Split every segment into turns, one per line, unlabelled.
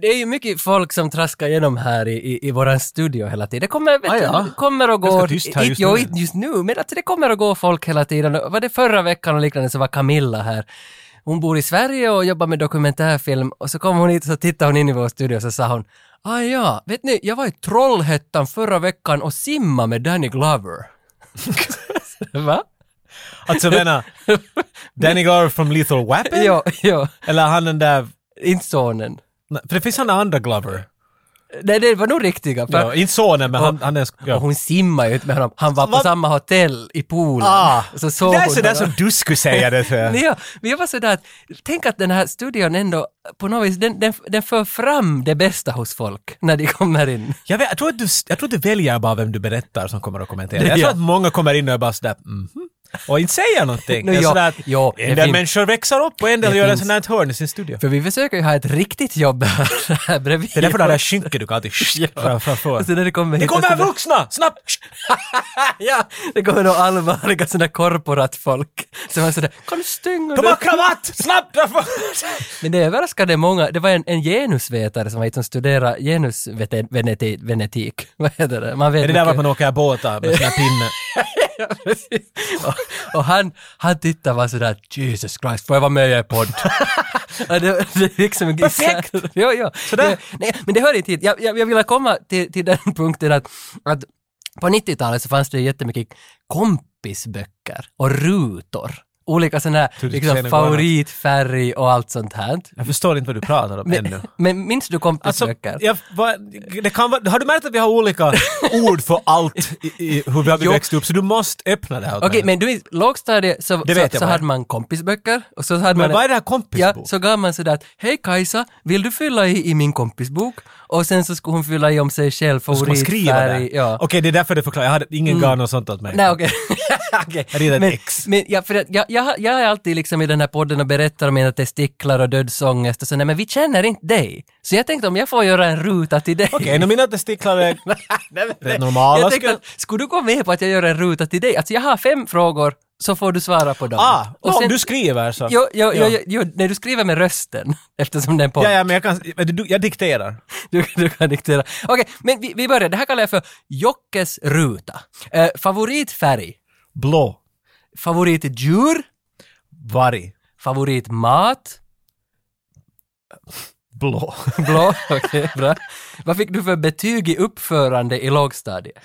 det är ju mycket folk som traskar igenom här i, i, i våran studio hela tiden. Det kommer, vet
Ah, ja.
du, kommer och
Ganska
går...
tyst här
i-
just
jo,
nu.
inte just nu, men alltså det kommer och går folk hela tiden. Och Var det förra veckan och liknande så var Camilla här. Hon bor i Sverige och jobbar med dokumentärfilm och så kom hon hit och så tittade hon in i vår studio och så sa hon Ah ja, vet ni, jag var i Trollhättan förra veckan och simma med Danny Glover. Va?
Alltså vänner, Danny Glover från Lethal Weapon?
Ja, ja,
Eller han den där...
inte sonen.
Nej, För det finns såna andra Glover.
Nej, det var nog riktiga. För,
Ja, inte sonen, men han, han är... Ja.
Och hon simmar ju inte med honom. Han var på
Vad?
samma hotell i poolen.
Ah,
Så såg
det är
hon
sådär
honom.
som du skulle säga det. tror jag.
Ja, men jag var sådär att, tänk att den här studion ändå på något vis, den, den, den för fram det bästa hos folk när de kommer in.
Jag, vet, jag, tror att du, jag tror att du väljer bara vem du berättar som kommer att kommentera. Jag
Ja.
tror att många kommer in och är bara sådär mhm. och inte säger någonting.
Nå,
Det är
ja,
sådär att
ja, det
en del
fin-
människor växer upp och en del
det
gör en
finns-
sån här ett hörn i sin studio.
För vi försöker ju ha ett riktigt jobb här bredvid.
Det är därför det där skynket du kan alltid fram- framför.
Och så när Alltså, det kommer
Det
hit och
kommer
så-
vuxna! Snabbt!
ja, det kommer nog allvarliga sådana korporatfolk som är sådär ”Kom stygg och
De
dö."
har kravatt! Snabbt!
Men det överraskade många, det var en, en genusvetare som var hit som studerade genusvenetik. Vad heter det? Man vet
Är det där
mycket.
varför man åker båtar med sån här pinne?
Ja, precis. och, och han, han tittade bara sådär, Jesus Christ, får jag vara med i er podd? Ja, det, det är liksom
Perfekt!
ja, ja.
Sådär.
Det, nej, men det hör inte hit. Jag, jag, jag ville komma till, till den punkten att, att på 90-talet så fanns det jättemycket kompisböcker och rutor. Olika sådana här
du skulle säga
liksom,
något annat.
favoritfärg och allt sånt här.
Jag förstår inte vad du pratar om ännu. Alltså,
Men, men minns du kompisböcker?
jag, va, det kan, vara- har du märkt att vi har olika ord för allt i, i hur vi har
Jo.
växt upp? Så du måste öppna det här åt
Okej,
mig.
men du minns, lågstadiet så,
Det
så,
vet jag
så
vad
hade man kompisböcker och så hade
Men
man...
vad är det här kompisbok?
Ja, så gav man sådär att hej Kajsa, vill du fylla i i min kompisbok? Och sen så skulle hon fylla i om sig själv,
Ska man skriva
favoritfärg.
det?
Ja. Mm.
Okej, det är därför det förklarar. Jag hade ingen gav något sånt åt mig.
Nej, okej. Okej.
Jag ritar ett
Men,
X.
men ja, för att jag, jag, jag är alltid liksom i den här podden och berättar om mina testiklar och dödsångest och så, nej men vi känner inte dig. Så jag tänkte om jag får göra en ruta till dig.
Okej, okay, mina testiklar är rätt normala.
Jag tänkte
skulle-
att, skulle du gå med på att jag gör en ruta till dig? Alltså jag har fem frågor, så får du svara på dem.
Ah, och
sen-
om du skriver så.
Jo, jo, jo,
Ja.
jo, jo, när du skriver med rösten, eftersom den på...
Ja, ja, men jag kan... men du- Jag dikterar.
Du, du kan diktera. Okej, men vi, vi börjar. Det här kallar jag för Jockes ruta. Eh, favoritfärg?
Blå.
Favoritdjur?
Varg.
Favoritmat?
Blå.
Blå? Okej, bra. Vad fick du för betyg i uppförande i lågstadiet?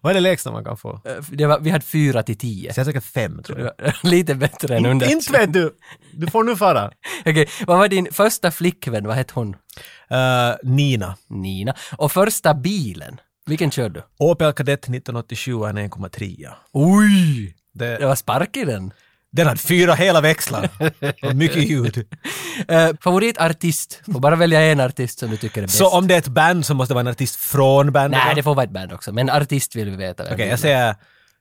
Vad är det lägsta man kan få?
Eh, Det var, vi hade fyra till tio.
Så jag tycker fem, tror jag.
Lite bättre än under.
Inte vet du! Du får nu fara.
Okej, vad var din första flickvän? Vad hette hon?
Eh, Nina.
Nina. Och första bilen? Vilken körde du?
Opel Kadett 1987 är en 1,3.
Oj! Det
Det,
var spark i den.
den hade fyra hela växlar. Och mycket ljud.
Eh, favoritartist? Och bara välja en artist som du tycker är bäst.
Så om det är ett band så måste det vara en artist från bandet.
Nej, det får vara ett band också, men artist vill vi veta. vem
Okej,
det är.
jag säger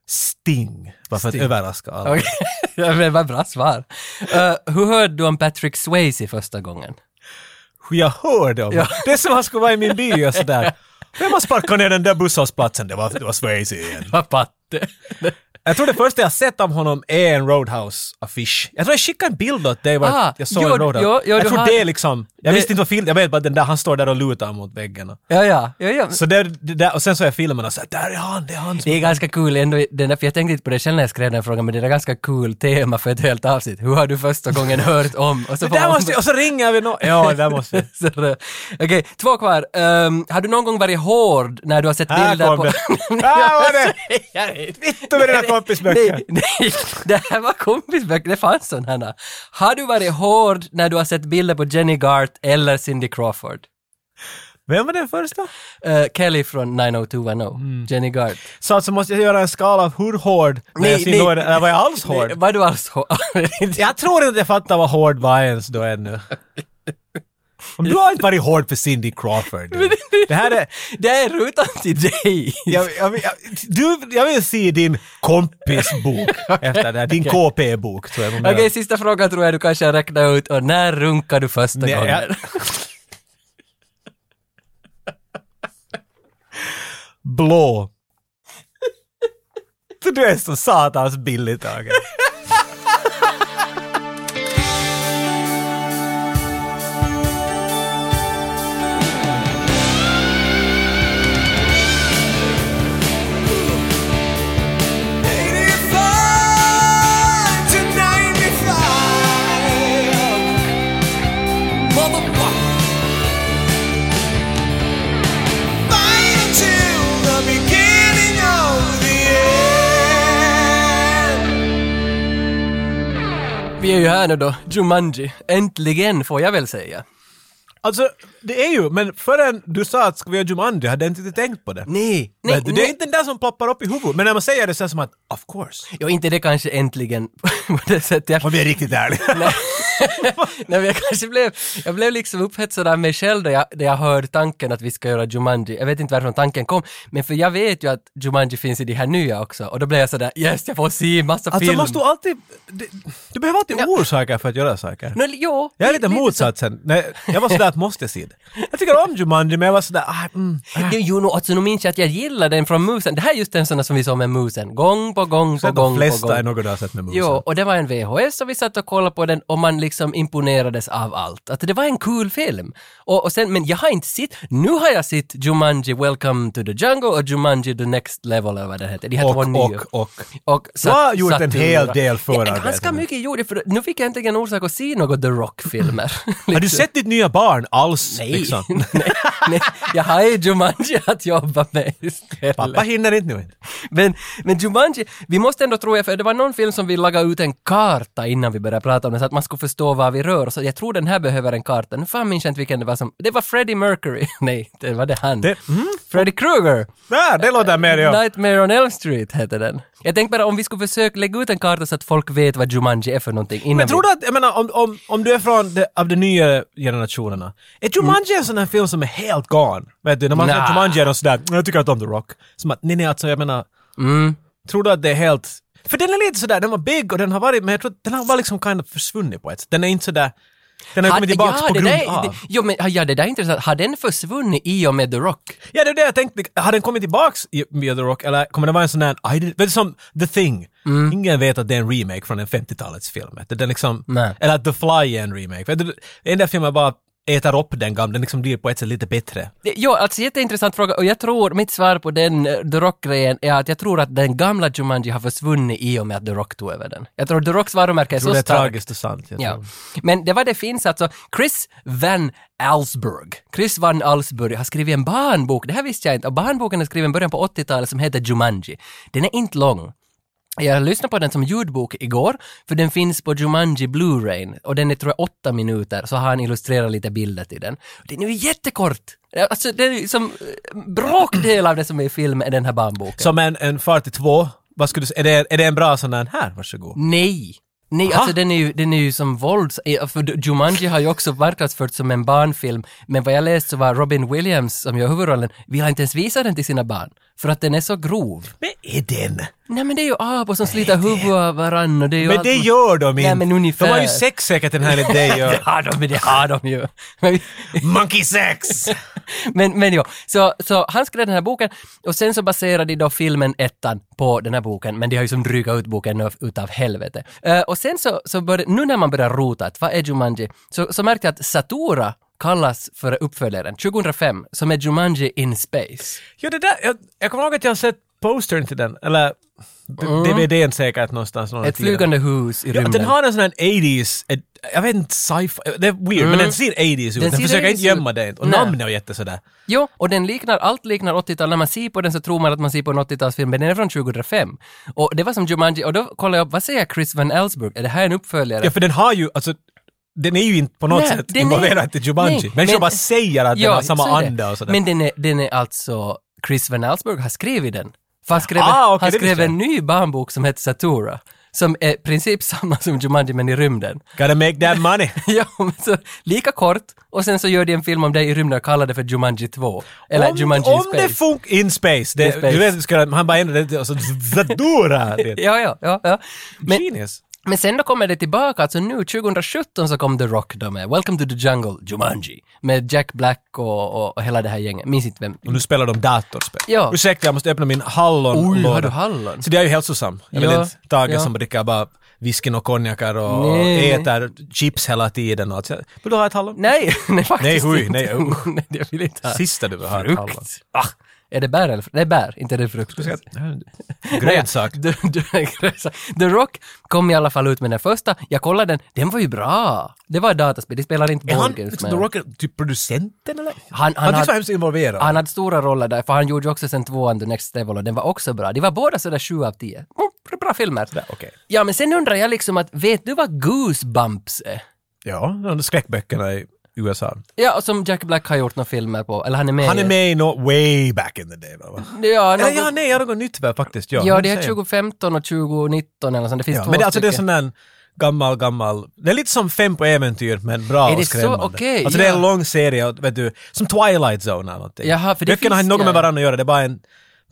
Sting. Bara för att överraska alla.
Okej. Ja, men vad bra svar. Eh, hur hörde du om Patrick Swayze första gången?
Hur jag hörde om
Ja.
Det är som han skulle vara i min by och sådär. Vem har sparkat ner den där busshållplatsen? Det var, det var Swayze igen.
Vad patte.
Jag tror det första jag sett om honom är en Roadhouse-affisch. Jag tror jag skickade en bild åt dig var
Ah,
att jag såg
jo,
en Roadhouse.
jo, jo,
jag
du
tror
har-
det är liksom... Jag
det-
visste inte vad film... Jag vet bara att den där, han står där och lutar mot väggen. och-
Ja, ja, ja, ja.
Så det, det där, och sen såg jag filmen och så här, där är han, det är han. som-"
Det är ganska kul ändå, den där, för jag tänkte inte på det själv när jag skrev den frågan, men det är ett ganska kul tema för ett helt avsnitt. Hur har du första gången hört om? Och
Det
får
där
man-
måste jag, och så ringer vi någon. Ja, det där måste jag.
Så det- Okej, två kvar. Ehm, har du någon gång varit hård när du har sett
Här
bilder
kom
på...
det. Här var det.
Jag vet.
Vittu med dina kompisböcker.
Nej, nej, det här var kompisböcker, det fanns sådana. Har du varit hård när du har sett bilder på Jenny Gart eller Cindy Crawford?
Vem var den första?
Eh, Kelly från 90210, oh.
Mm.
Jenny Gart.
Så alltså måste jag göra en skala av hur hård när jag
Nej,
ser
nej.
någon, eller var jag alls hård?
Nej, Var du alls hård?
Jag tror inte jag fattar vad hård var ens då ännu. Om du har inte varit hård för Cindy Crawford. du. Det här är...
det är rutan till dig.
Jag, jag, jag, du, jag vill se din kompisbok efter det här. Din KP-bok tror jag. de
Okej,
gör.
sista frågan tror jag du kanske har räknat ut. Och när runkar du första
Nej,
gången?
jag- Blå. Du är så satans billig Tage.
vi är ju här nu då, Jumanji. Äntligen får jag väl säga.
Alltså, det är ju, men förrän du sa att ska vi göra Jumanji hade jag inte tänkt på det.
Nej, nej,
Vet du,
nej.
det är inte den där som poppar upp i huvudet, men när man säger det så är det som att of course.
Jo, inte det kanske äntligen på det sättet. Jag,
Om vi är riktigt ärliga.
nej, men jag kanske blev, jag blev liksom upphetsad av mig själv då jag, då jag hörde tanken att vi ska göra Jumanji. Jag vet inte varifrån tanken kom, men för jag vet ju att Jumanji finns i de här nya också. Och då blev jag sådär, yes, jag får se massa
Alltså
film.
måste du alltid... Du, du behöver alltid orsaker för att göra saker.
Nå, jo,
Jag är
li-
lite
så.
motsatsen. Nej, jag var sådär att måste jag se det. Jag tycker om Jumanji men jag var sådär, ah, mm.
Det, jo, no, alltså, nu minns jag att jag gillar den från musen. Det här är just den sån där som vi såg med musen. Gång på gång på
Så
gång
de
på gång.
flesta är något du har sett med musen.
Jo, och det var en VHS och vi satt och kollade på den och man liksom imponerades av allt. Att det var en kul film. Och, och sen, men jag har inte sett, nu har jag sett Jumanji Welcome to the Jungle och Jumanji The Next Level eller vad det heter. De här två
Och,
nya.
och, och.
Och
Du har
Sat-
gjort en
Satura.
hel del
Ja,
förarbete
ganska
nu.
mycket gjorde jag, för nu fick jag äntligen orsak att se något The Rock-filmer.
Har du sett ditt nya barn alls?
Nej,
Liksom?
nej, nej, jag har ju Jumanji att jobba med istället.
Pappa hinner inte nu.
Men, men Jumanji, vi måste ändå tro, för det var någon film som vi lagade ut en karta innan vi började prata om den, så att man skulle förstå var vi rör oss. Så jag tror den här behöver en karta. Nu fan minns jag inte vilken det var som... Det var Freddie Mercury. Nej, det var det han. Mm?
Det-
Freddy Krueger.
Där, det låter mer jag.
Nightmare on Elm Street hette den. Jag tänkte bara om vi skulle försöka lägga ut en karta så att folk vet vad Jumanji är för någonting innan
Men tror du att, jag menar om, om, om du är från de, av de nya generationerna, är Jumanji en sån här film som är helt gone? Vet du, när man
Mm. Nah.
ser Jumanji är de sådär, jag tycker inte om The Rock. Som att, nej nej alltså jag menar,
vi... Mm.
tror du att det är helt... För den är lite sådär, den var big och den har varit, men jag tror att den har bara liksom kind of försvunnit på ett sätt. Den är inte sådär, den har kommit tillbaka
ja,
på
det
grund
där,
av.
det, jo, men, ja, det där är intressant. Har den försvunnit i och med The Rock?
Ja, det är det jag tänkte. Har den kommit tillbaks i med The Rock eller kommer det vara en sån där, aj, det- vet du som The Thing?
Mm.
Ingen vet att det är en remake från en 50-talets film. Att Den liksom,
Nej.
eller att The Fly är en remake. Vet du, Den där filmen bara äter upp den gamla, den liksom blir på ett sätt lite bättre.
Det- Ja, alltså jätteintressant fråga och jag tror, mitt svar på den eh, The Rock-grejen är att jag tror att den gamla Jumanji har försvunnit i och med att The Rock tog över den. Jag tror The Rocks varumärke är
Så
så
det är
starkt.
tragiskt och sant. jag
Ja.
tror.
Men det var det finns alltså. Chris Van Alsberg. Chris Van Alsberg har skrivit en barnbok, det här visste jag inte, och barnboken är skriven i början på 80-talet som heter Jumanji. Den är inte lång. Jag lyssnade på den som ljudbok igår, för den finns på Jumanji Blu-ray och den är tror jag åtta minuter, så har han illustrerat lite bilder till den. Den är ju jättekort! Alltså det är ju som eh, bråkdel av det som är i filmen är den här barnboken.
Som en, en 42, vad skulle du säga, är det, är det en bra sån där, här,
Mm.
varsågod.
Nej. Nej,
Aha.
alltså den är ju, den är ju som vålds... eh, För Jumanji har ju också marknadsförts som en barnfilm, men vad jag läste så var Robin Williams, som gör huvudrollen, vill inte ens visa den till sina barn, för att den är så grov.
Men är den?
Nej men det är ju apor som sliter huvudet av varandra och det är ju
Men
allt
det
mot-
gör de inte.
men ungefär.
De har ju sex säkert den här enligt dig.
Det
och-
har de, men det har de ju. Men,
Monkey sex!
men, men ja, så, så han skrev den här boken och sen så baserade de då filmen ettan på den här boken, men de har ju som drygat ut boken nu utav helvete. Eh, och sen så, så började, nu när man börjar rota att vad är Jumanji, så, så märkte jag att Satura kallas för uppföljaren 2005, som är Jumanji in space.
Ja, det där, jag, jag kommer ihåg att jag har sett postern till den, eller d- DVDn säkert någonstans. någon
Mm. Ett
tid.
flygande hus i
Ja,
rymden.
den har en sån här 80s, ett, jag vet inte, sci-fi, det är weird, men den ser 80s ut. Den,
Mm. ser
försöker
80s
inte
ut.
gömma det. Och
Nej.
namnet är jätte sådär.
Jo, och den liknar, allt liknar 80-tal. När man ser på den så tror man att man ser på en 80-talsfilm, men den är från 2005. Och det var som Jumanji, och då kollade jag upp, vad säger Chris Van Ellsberg? Är det här en uppföljare?
Ja, för den har ju, alltså, den är ju inte på något
Nej,
sätt
den är-
involverad till Jumanji.
Nej,
Men
men-
jag bara säger att den har
så
samma
är det.
anda och sådär.
Men den är, den är alltså, Chris Van Allsburg har skrivit den. För han skrev,
Ah, okej,
han
det visste
skrev
jag.
en ny barnbok som heter Satura, som är i princip samma som Jumanji men i rymden.
Gotta make that money.
ja, men så, lika kort, och sen så gör de en film om det i rymden och kallar det för Jumanji 2. Eller
om
Jumanji
om
in Space.
det funkar in space, det,
In space.
du vet, ska, han bara ändrar det och så zadora. det.
ja, ja, ja. ja. Men,
Genius.
Men sen då kommer det tillbaka, alltså nu 2017 så kom The Rock då med Welcome to the Jungle, Jumanji, med Jack Black och, och, och hela det här gänget. Minns inte vem.
Och nu spelar de datorspel.
Ja.
Ursäkta, jag måste öppna min hallon.
Oj,
låda.
har du hallon?
Så det är ju hälsosam. Jag vill
Ja,
inte Tage
ja.
som dricker bara whisky och konjakar och
Nej.
äter chips hela tiden. Och allt. så här. Vill du ha ett hallon?
Nej, nej faktiskt
Nej, hui,
inte.
nej, usch.
nej, jag vill inte ha.
Sista du vill ha ett hallon.
Frukt. Ah, är det bär eller frukt? Nej, bär, inte det är frukt.
Du ska- Grönsak.
Nej, The, The, The Rock kom i alla fall ut med den första. Jag kollade den, den var ju bra. Det var ett dataspel, de spelade inte
Är han
board games
liksom,
med
The
den.
Rock är typ producenten eller?
Han, han,
Han tycks
hade-
vara hemskt involverad.
han hade stora roller där, för han gjorde ju också sen tvåan, The Next Level, och den var också bra. De var båda sådär 7 av 10. Mm, bra, bra filmer.
Där, Okej.
Ja, men sen undrar jag liksom att, vet du vad Goosebumps är?
Ja, de skräckböckerna i USA.
Ja, och som Jack Black har gjort några filmer på, eller han är med
Han
i-
är med i något way back in the day, va? va?
Ja,
Ja,
något,
ja, nej, jag har något nytt väl faktiskt. Ja,
ja,
vad
det är
säger jag?
2015 och 2019 eller sånt. Det finns
Ja,
två
men det, alltså det är
stycken.
sån där gammal, gammal... Det är lite som Fem på äventyr, men bra
Är det
och
så?
skrämmande.
Okej,
alltså det är
ja.
en lång serie, och, vet du, som Twilight Zone eller någonting.
Jaha, för det
Böckerna har
finns-
inte något
ja,
med
ja.
varandra att göra, det är bara en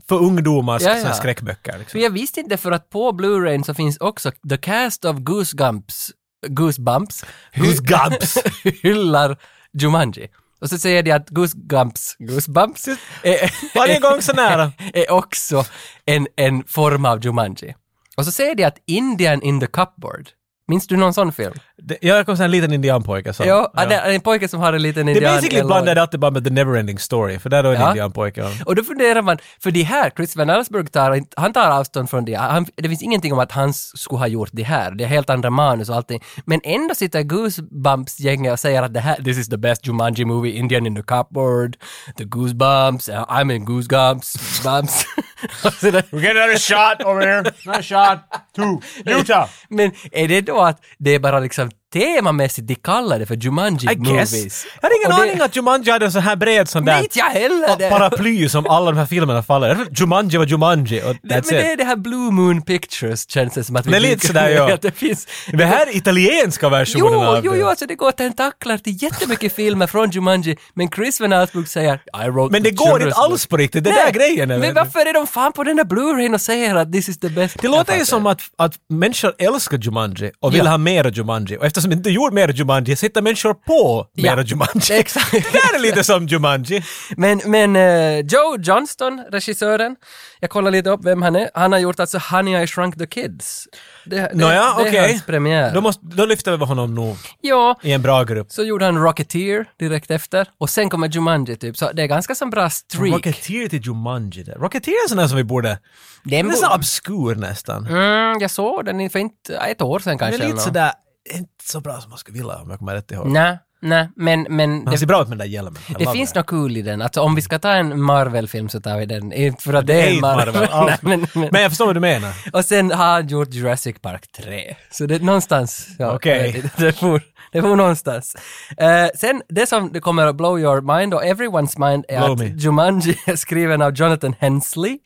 för ungdomar
Ja,
ja,
ja.
skräckböcker. Liksom.
För jag visste inte för att på Blu-rayn så finns också The Cast of Goosebumps, Goosebumps
Who's Gabs?
hyllar Jumanji. Och så säger de att Goosebumps, Goosebumps är,
Varje gång så nära.
är också en, en form av Jumanji. Och så säger de att Indian in the cupboard, minns du någon sån film?
Det- Jag kom sen en liten indianpojke. Så.
Ja, det är en pojke som har en liten
Det
indian
är basically
eller-
blandade alltid bara med The Neverending Story, för där är en
Ja.
indianpojke. och-
Och då funderar man, för det här, Chris Van Allsburg tar, inte- han tar avstånd från det. Han, det finns ingenting om att han skulle ha gjort det här. Det är helt andra manus och allting. Men ändå sitter Goosebumps-gänget och säger att det här, this is the best Jumanji movie, Indian in the cupboard, the Goosebumps, uh, I'm in Alltså Goosebumps, bumps. Och så där.
We get another shot over here. Another shot. Two. Utah.
Men är det då att det är bara liksom temamässigt de kallar det för Jumanji
I guess.
movies?
Jag hade ingen
Och det-
aning att Jumanji hade en sån här bred sån
Nej,
där
inte jag heller! Det-
paraply som alla de här filmerna faller. Jag tror Jumanji var Jumanji och
Men
that's
det
it.
är det här Blue Moon Pictures känns det som att vi
Det är lite
dyker
sådär,
ner,
ja.
att det finns
Den här italienska versionen
Jo,
av
jo,
det.
jo, alltså det går tentaklar till jättemycket filmer från Jumanji, men Chris Van Alsburg säger I wrote
Men det
the
går
children's
inte alls på riktigt, det
book."
där grejen är
Men varför är de fan på den där Blu-rayn och säger att this is the best?
Det låter ju som att, att människor älskar Jumanji och vill
Ja.
ha mer Jumanji. Och eftersom de inte gjort mer Jumanji så hittar människor på
Ja,
mer Jumanji.
exakt.
Det där är lite som Jumanji.
Men, men eh, Joe Johnston, regissören, jag kollar lite upp vem han är. Han har gjort alltså Honey I Shrunk the Kids. Det, det,
Nåja,
det är
okej.
hans premiär.
Då, måste, då lyfter vi honom nog
Ja,
i en bra grupp.
så gjorde han Rocketeer direkt efter och sen kommer Jumanji typ, så det är ganska som bra streak.
Rocketeer till Jumanji. där. Rocketeer är en sån där som vi borde... Den
Den
är
bo-
så obskur nästan.
Mm, jag såg den för inte, ett år sedan kanske.
Den är
eller nå.
lite sådär... Inte så bra som man skulle vilja om jag kommer rätt ihåg.
Nej, nej, men, men
Han
det,
ser bra ut med den där hjälmen. Jag
Mm. det
love
finns
that.
något kul i den. Alltså, om vi ska ta en Marvel-film så tar vi den. Inte för att det är en
Hate
Marvel.
Marvel.
Nej,
alls.
men, men.
Men jag förstår vad du menar.
Och sen har han gjort Jurassic Park 3. Så det är någonstans. Ja,
Okej.
jag vet inte. Det får, det får någonstans. Eh, sen det som det kommer att blow your mind och everyone's mind är
Blow
att
me.
Jumanji är skriven av Jonathan Hensley.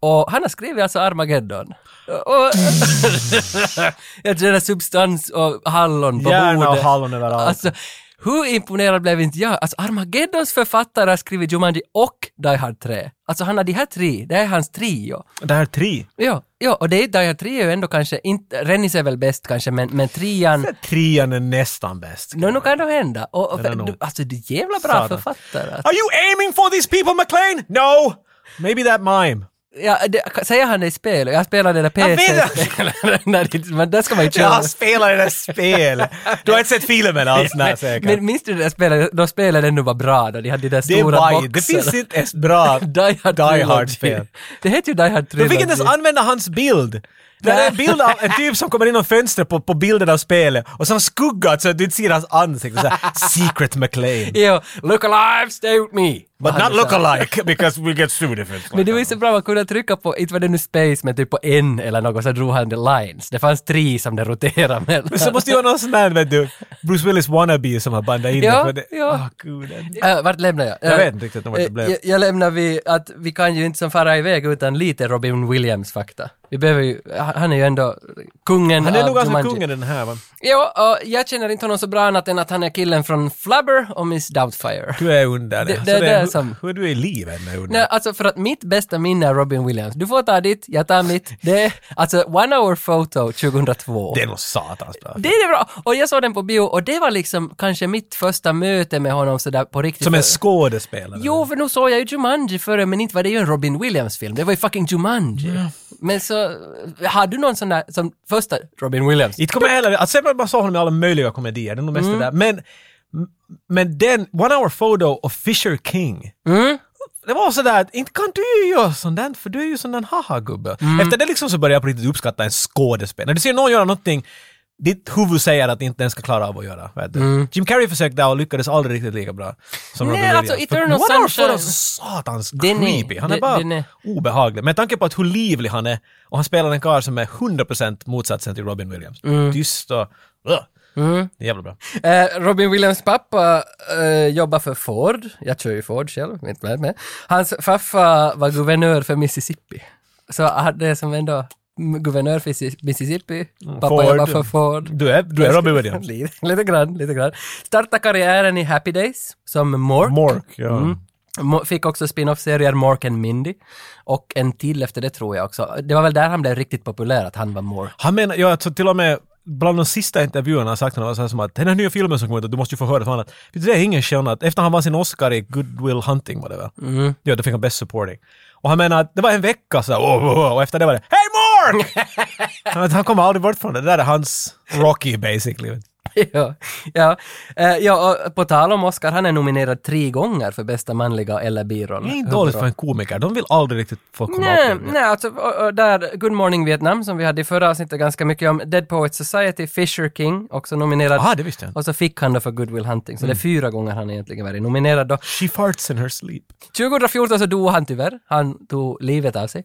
Och han har skrivit alltså Armageddon. Och, jag känner substans och hallon på
Hjärna och
bordet.
hallon överallt.
Alltså, hur imponerad blev inte jag? Alltså Armageddons författare har skrivit Jumanji och Die Hard 3. Alltså han har de här tre, det här är hans trio.
Det här är tre.
Ja, ja och det är Die Hard 3 är ju ändå kanske, inte, Rennis är väl bäst kanske, men, men trean,
Trean är nästan bäst.
nå nu kan det hända. Och, och,
Den är nog-
du, alltså det är jävla bra
Satan.
författare. Alltså,
Are you aiming for these people, McLean? No! Maybe that mime.
ja, det, säger han det i spel, jag spelade det där
Jag vet
PC-spelet, men där ska man ju köra.
Jag spelar det där spelet. Du har inte sett filmen alls, nej säkert.
Men minns du det där spelet, då spelet ändå var bra då, de hade de där
det är
stora
vajigt.
boxarna.
Det finns inte ens bra
Die Hard,
Die
Trilogy.
Hard-spel.
Det heter ju Die Hard
Du
Trilogy.
fick inte ens använda hans bild. Det
Nej.
är en bild av en typ som kommer in genom fönstret på, på bilden av spelet och som skuggat så att du inte ser hans ansikte. Så här, Secret McLean.
Ja, look alive, stay with me. Vad
But
han
not
sa.
look alike because we get sued if it's
Men det var ju så bra, man kunde trycka på, inte var det nu space, men typ på en eller något, så drog han the lines. Det fanns tre som det roterade mellan.
Men så måste ju vara någon sån där, vet du, Bruce Willis wannabe som har bandat in
Ja,
det. för det-
ja.
Ah, gud.
Äh, vart lämnar jag?
Jag
Äh,
vet inte riktigt vart det
äh,
blev.
Jag, jag lämnar vi att vi kan ju inte som fara iväg utan lite Robin Williams-fakta. Vi behöver ju, han är ju ändå kungen
Han är
av
nog ganska
alltså Jumanji.
kungen i den här va?
Ja, och jag känner inte honom så bra annat än att han är killen från Flubber och Miss Doubtfire.
Du är underlig.
Det-
Så
det är det
hur-
som-
Hur du är i livet med
Nej,
underlig.
alltså för att mitt bästa minne är Robin Williams. Du får ta ditt, jag tar mitt. Det är alltså One Hour Photo 2002.
Det är nog satans bra.
Det är bra! Och jag såg den på bio och det var liksom kanske mitt första möte med honom sådär på riktigt.
Som en skådespelare.
Jo, för nu såg jag ju Jumanji före, men inte var det ju en Robin Williams-film. Det var ju fucking Jumanji. Men så, har du någon sån där, som första Robin Williams?
Inte kommer jag heller... Alltså, jag bara såg honom i alla möjliga komedier. Det är nog mest
Mm.
det där. Men, men den, One Hour Photo och Fisher King.
Mm.
Det var sådär att inte kan du ju göra sånt där, för du är
Mm.
ju sån där haha-gubbe. Efter det liksom så började jag på riktigt uppskatta en skådespelare. När du ser någon göra någonting ditt huvud säger att ni inte ens ska klara av att göra. Vet du? Jim Carrey försökte och lyckades aldrig riktigt lika bra som
Mm. Nej,
Robin Williams.
alltså, Eternal
För Noir
Sunshine-
får alltså satans
Den är-
creepy. Han är
den-
bara
den är-
obehaglig. Med tanke på att hur livlig han är och han spelar en karl som är 100% motsatsen till Robin Williams.
Mm.
Tyst och... Ugh. Det är jävla bra.
Eh, Robin Williams pappa eh, jobbar för Ford. Jag kör ju Ford själv, inte med, med. Hans farfar var guvernör för Mississippi. Så han är som ändå mm, guvernör för Missis- Mississippi. Pappa
Ford.
jobbar för Ford.
Du är, du är Robin Williams.
lite, lite grann, lite grann. Startade karriären i Happy Days som Mork.
Mork, ja.
Mm. Mo- Fick också spin-off-serier Mork and Mindy. Och en till efter det tror jag också. Det var väl där han blev riktigt populär, att han var Mork.
Han menar, ja, alltså, till och med bland de sista intervjuerna han sagt han var så här som att den här nya filmen som kommer ut, du måste ju få höra från annat. Vet du, det är ingen skillnad. Efter han vann sin Oscar i Goodwill Hunting var det väl?
Mm.
Ja, då fick han Best Supporting. Och han menar att det var en vecka så här, "Åh, åh, åh", och efter det var det Hey Mark! han, vet, han kommer aldrig bort från det. Det där är hans Rocky basically.
ja, ja. Eh, ja, och på tal om Oscar, han är nominerad tre gånger för bästa manliga eller biroll.
Det är inte dåligt för en komiker. De vill aldrig riktigt få komma upp.
Nej,
igen.
nej, alltså och, och där, Good Morning Vietnam som vi hade i förra avsnittet ganska mycket om, Dead Poets Society, Fisher King, också nominerad.
Aha, det visste jag inte.
Och så fick han då för Good Will Hunting, så det är fyra gånger han egentligen varit nominerad då.
She farts in her sleep.
2014 så dog han tyvärr, han tog livet av sig.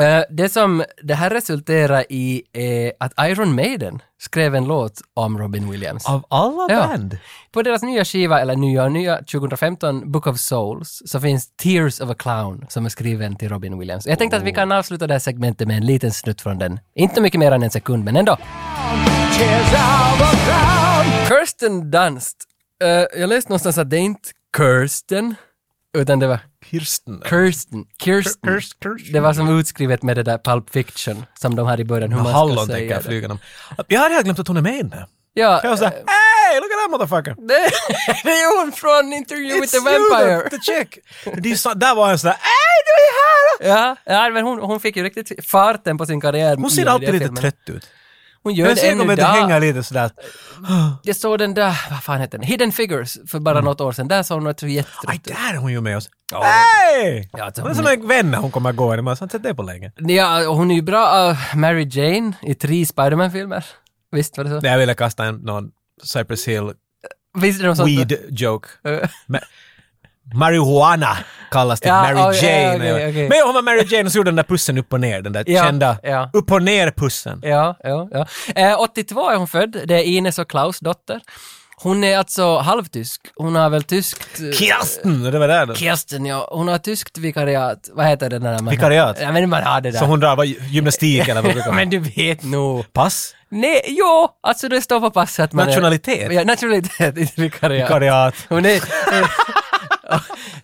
Eh, Det som det här resulterar i är att Iron Maiden skrev en låt om Robin Williams.
Av alla
Ja.
band?
På deras nya skiva, eller nya, nya 2015, Book of Souls, så finns Tears of a Clown som är skriven till Robin Williams. Jag tänkte att vi kan avsluta det här segmentet med en liten snutt från den. Inte mycket mer än en sekund, men ändå. Kirsten Dunst. Eh, jag läste någonstans att det är inte Kirsten, utan det var
Kirsten.
Kirsten. Kirsten.
Kirst- Kirsten.
Det var som utskrivet med det där Pulp Fiction som de hade i början. Hur man ska
Hallon
säga
tänker jag
det.
flyga dem. Jag hade helt glömt att hon är med i den här.
Ja,
Jag var såhär,
eh,
hey, look at that motherfucker!
det, det är hon från Interview with the
It's you,
Vampire.
The, the chick! Det är ju så, där var han sådär, hey, du är här!
Ja, ja men hon, hon fick ju riktigt farten på sin karriär.
Hon
i
ser
den
alltid
där
lite
filmen.
trött ut.
Hon gör
Jag
det
ser
än
henne lite hänga
idag.
lite sådär.
Jag såg den där, vad fan heter den, Hidden Figures för bara
Mm.
något år sedan. Där såg hon att hon var jättetrött
Aj,
ut.
där är hon ju med oss. Hey!
Ja, alltså,
Hon är som en vän när hon kommer gå. Man har inte sett det på länge.
Ja, och hon är ju bra av Mary Jane i tre Spiderman-filmer. Visst var det så?
Nej, Jag ville kasta en någon Cypress Hill
Visst är det något sånt?
weed-joke.
Eh,
Marijuana kallas det,
Ja,
Mary
oj, ja,
Jane.
okej, okej.
Men hon var Mary Jane och så gjorde den där pussen upp och ner, den där
Ja,
kända
ja.
upp och ner-pussen.
Ja, ja, ja. Eh, 82 är hon född. Det är Ines och Klaus dotter. Hon är alltså halvtysk. Hon har väl tyskt... eh,
Kirsten! Det var där då.
Kirsten, ja. Hon har tyskt vikariat. Vad heter det när man... har-
Vikariat?
Ja, men man har det där.
Så hon drar vad, gymnastik eller vad det brukar vara.
Men du vet nog.
Pass?
Nej, jo, alltså det står på passet att man
Nationalitet?
Är, ja, nationalitet, inte vikariat.
Vikariat.
Hon är,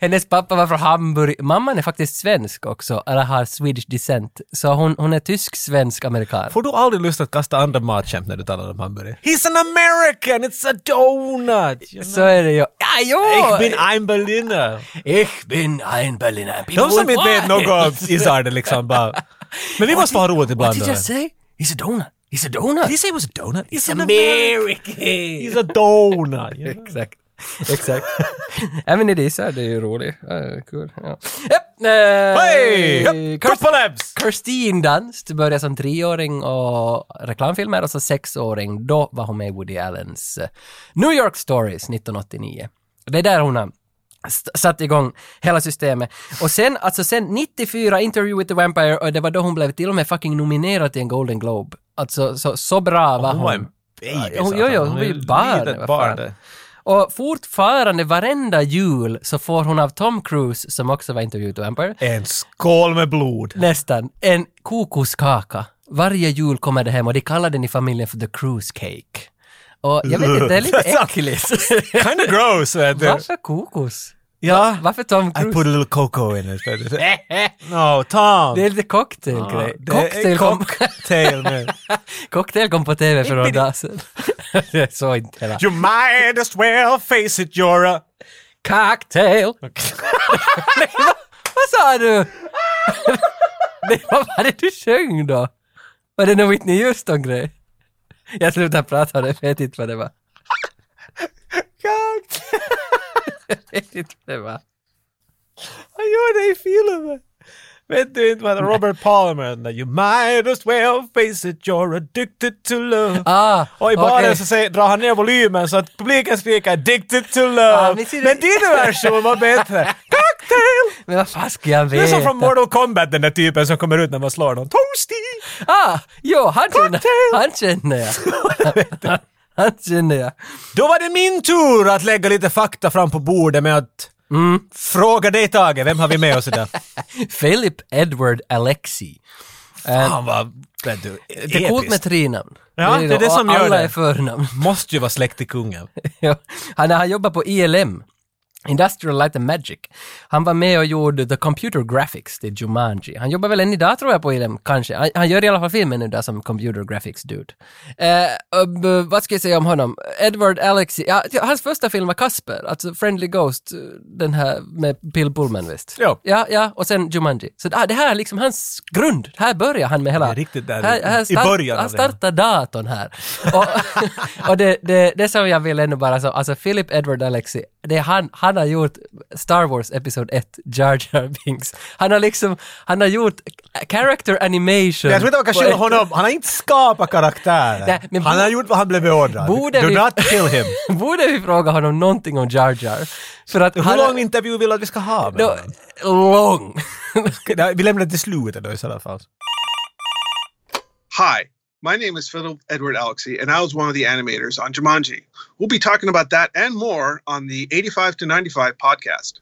hennes pappa var från Hamburg. Mamman är faktiskt svensk också, eller har Swedish descent. Så hon, hon är tysk-svensk-amerikan.
Får du aldrig lust att kasta andra matskämt när du talar om hamburgare? He's an American! It's a donut! You
Så är det ju. Ja, jo!
know? Ich bin ein Berliner!
Ich bin ein Berliner.
De som inte vet något isar det liksom bara... Men vi måste ha roligt
What
ibland.
did
då.
you say? He's a donut. He's a donut.
Did he say it was a donut? He's an American!
American.
He's a donut! you know?
Exakt. Exakt. ja men det är så här, det är ju roligt. Ja, kul. Ah, Ja. Japp, eh,
Hej! Hup,
Kirst-
Kroppalabs!
Kirstine Dunst började som treåring och reklamfilmer och så sexåring. Då var hon med i Woody Allens eh, New York Stories 1989. Det är där hon har st- satt igång hela systemet. Och sen, alltså sen 94, Interview with the Vampire, och det var då hon blev till och med fucking nominerad till en Golden Globe. Alltså så, så bra var
Hon var
hon.
en baby.
Ja, hon-
satan.
jo, jo, hon var ju
är ett
barn,
litet
vad
barn
fan.
där.
Och fortfarande varenda jul så får hon av Tom Cruise, som också var Interview with the Vampire,
En skål med blod.
Nästan. En kokoskaka. Varje jul kommer det hem och de kallar den i familjen för the cruise cake. Och jag vet inte, det är lite
That's not-
äckligt.
Kinda gross, vet du.
Varför kokos?
Ja.
Varför Tom
I
Cruise?
Äh, put a little cocoa in it. vet du. no, Tom!
Det är lite cocktailgrej.
Det är
cocktail, kom,
cocktail nu.
cocktail kom på TV för några dagar sedan. Jag såg inte hela.
You might as well face it, you're a...
Cocktail! Nej, vad, vad sa du? Nej, vad var det du sjöng då? Var det någon Whitney Houston-grej? Jag slutar prata om det, för jag vet inte vad det var.
Cocktail.
Jag vet inte vad det var.
Han gör det i filmen. Vet du inte vad Robert Palmer, den där You might as well face it, you're addicted to love.
Ah,
och i baren
okej.
så säger, drar han ner volymen så att publiken skriker addicted to love.
Ah, men
men
ser du-
din version var bättre. Cocktail!
Men vad fan ska jag
Det
veta?
är som från Mortal Kombat den där typen som kommer ut när man slår någon. Toasty!
Ah, jo, han känner,
Cocktail!
han känner jag. han känner jag.
Då var det min tur att lägga lite fakta fram på bordet med att fråga dig Tage, vem har vi med oss idag?
Philip Edward Alexi.
Fan vad, vet du,
Det är coolt med
episkt.
tre namn.
Ja, det är det som
alla
gör
Alla
det.
är förnamn.
Måste ju vara släkt till kungen.
Ja. han, han jobbar på ILM, Industrial Light and Magic. Han var med och gjorde The Computer Graphics till Jumanji. Han jobbar väl än idag tror jag på ILM, kanske. Han, han gör i alla fall filmen nu där som Computer Graphics Dude. Eh, och, b- vad ska jag säga om honom? Edward Alexi, ja, hans första film var Casper, alltså Friendly Ghost, eh, den här med Bill Pullman visst?
Ja.
Ja, ja, och sen Jumanji. Så ah, det här är liksom hans grund. Här börjar han med hela...
Det är riktigt där,
här, här
i början
Han
av det
startar
här.
starta datorn här. Och, och det, det, det som jag vill ändå bara så, alltså Philip Edward Alexi, det är han, han har gjort Star Wars Episod 1, Jar Jar Binks. Han har liksom, han har gjort character animation.
Jag tror inte man kan
på
skylla
ett-
honom, han har inte skapat karaktärer.
Nej, men
han
bo-
har gjort vad han blev beordrad.
Borde
Do
vi-
not kill him.
Borde vi fråga honom någonting om Jar Jar? För att
Hur lång intervju vill du att vi ska ha med
då,
honom?
Lång!
Nej, Vi lämnar det till slutet då i sådana fall.
Hi, my name is Philip Edward Alexey, and I was one of the animators on Jumanji. We'll be talking about that and more on the 85 to 95 podcast.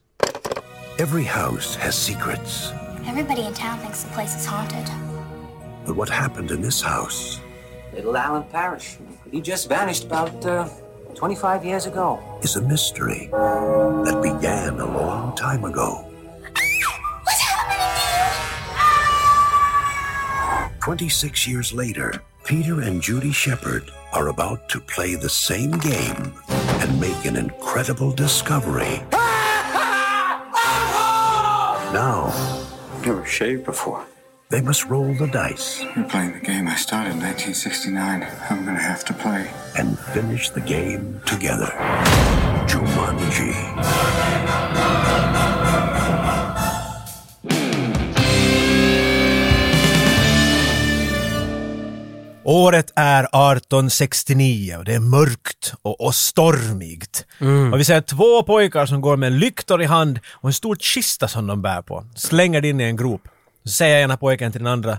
Every house has secrets,
Everybody in town thinks the place is haunted.
but what happened in this house
Little Alan Parrish. He just vanished about uh, 25 years ago.
is a mystery that began a long time ago.
What's happening to you?
26 years later, Peter and Judy Shepard are about to play the same game and make an incredible discovery. now,
Never shaved before.
they must roll the dice
You're playing the game I started in 1969. I'm gonna have to play.
and finish the game together. Jumanji.
Året är 1869 och det är mörkt och, och stormigt.
Mm.
Och vi ser två pojkar som går med lyktor i hand och en stor kista som de bär på. Slänger det in i en grop. Så säger ena pojken till den andra.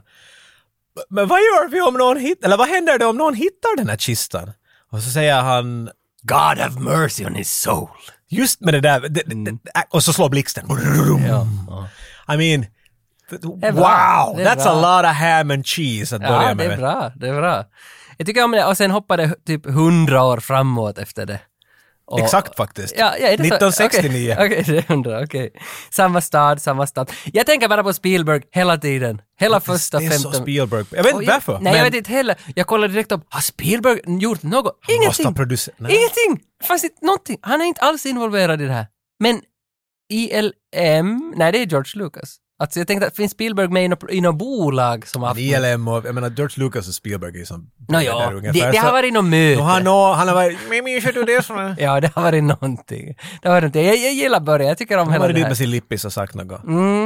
Men vad gör vi om någon hittar, eller vad händer det om någon hittar den här kistan? Och så säger han
God have mercy on his soul. Mm.
just med det där, det, det, det, och så slår blixten. I mean,
är bra.
wow!
Det är
That's a
bra.
lot of ham and cheese att börja
Ja,
med.
det är bra, det är bra. Jag tycker om det, och sen hoppade typ hundra år framåt efter det. Och-
Exakt faktiskt.
Ja, ja, är det så?
1969.
Okej, okej, det undrar, okej. Samma stad, samma stad. Jag tänker bara på Spielberg hela tiden. Hela första
Det är
15...
så Spielberg. Jag vet
Och
inte varför.
Nej, jag vet inte heller. Jag kollade direkt upp, har Spielberg gjort något? Ingenting!
måste ha producer- Nej.
Ingenting! Det Fanns inte någonting. Han är inte alls involverad i det här. Men ILM, nej det är George Lucas. Alltså jag tänkte, finns Spielberg med i något- i något bolag som har haft...
ILM och, jag menar George Lucas och Spielberg E är som...
Nå,
där
ja, det,
ungefär.
det har
Så-
varit något
Och
möte.
han, har- han har varit... Maybe you should do this one.
Ja, det har varit någonting. Det har varit någonting. Jag, jag gillar början, jag tycker om
Han
hela
har varit
det
dit
här.
med
Mm,
sin lippis och sagt något.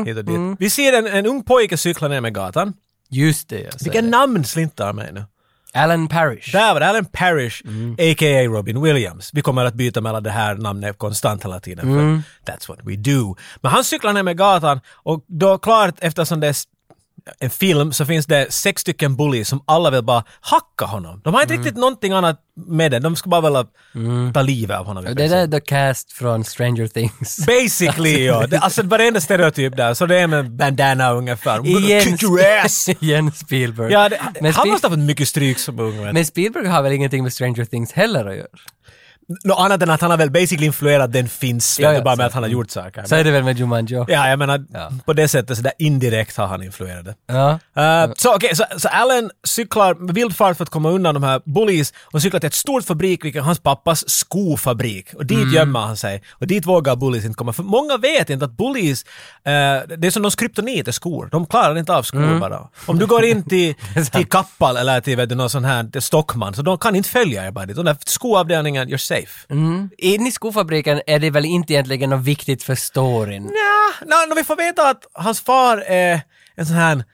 Hit och dit. Vi ser en, en ung pojke cykla ner med gatan.
Just det, jag säger
Vilka
det.
namn slintar mig nu?
Alan Parrish.
Där var det Alan Parrish,
Mm.
a.k.a. Robin Williams. Vi kommer att byta mellan det här namnet konstant hela tiden. för
Mm.
That's what we do. Men han cyklar ner med gatan och då klart eftersom det är s- en film så finns det sex stycken bullies som alla vill bara hacka honom. De har
Mm.
inte riktigt någonting annat med det. De ska bara vilja ta livet av honom. i
Det
princip.
där är The Cast från Stranger Things.
Basically ja. Det- Alltså varenda stereotyp där. Så det är med bandana ungefär. I'm gonna
Igen,
kick your ass!
igen Spielberg.
Ja, det,
men,
han
Spiel-
måste ha fått mycket stryk som ung. vet du.
men Spielberg har väl ingenting med Stranger Things heller att göra?
Något annat än att han har väl basically influerat den finns,
Ja,
ja,
ja,
bara
så-
med att han har gjort saker.
Så är det väl med Jumanji också?
ja, jag menar
Ja.
på det sättet så där indirekt har han influerat det.
Ja.
Eh, så okej, så, så Allen cyklar med vild fart för att komma undan de här bullies och cyklar till ett stort fabrik, vilket är hans pappas skofabrik. Och dit
Mm.
gömmer han sig. Och dit vågar bullies inte komma. För många vet inte att bullies, eh, det är som de kryptoniter skor. De klarar inte av skor
Mm.
bara. Om du går in till, till Kappal eller till vet du, någon sån här till Stockman, så de kan inte följa er bara dit. Den där skoavdelningen, you're safe. safe.
Inne i skofabriken är det väl inte egentligen något viktigt för storyn?
Nja, no, vi får veta att hans far är en sån här,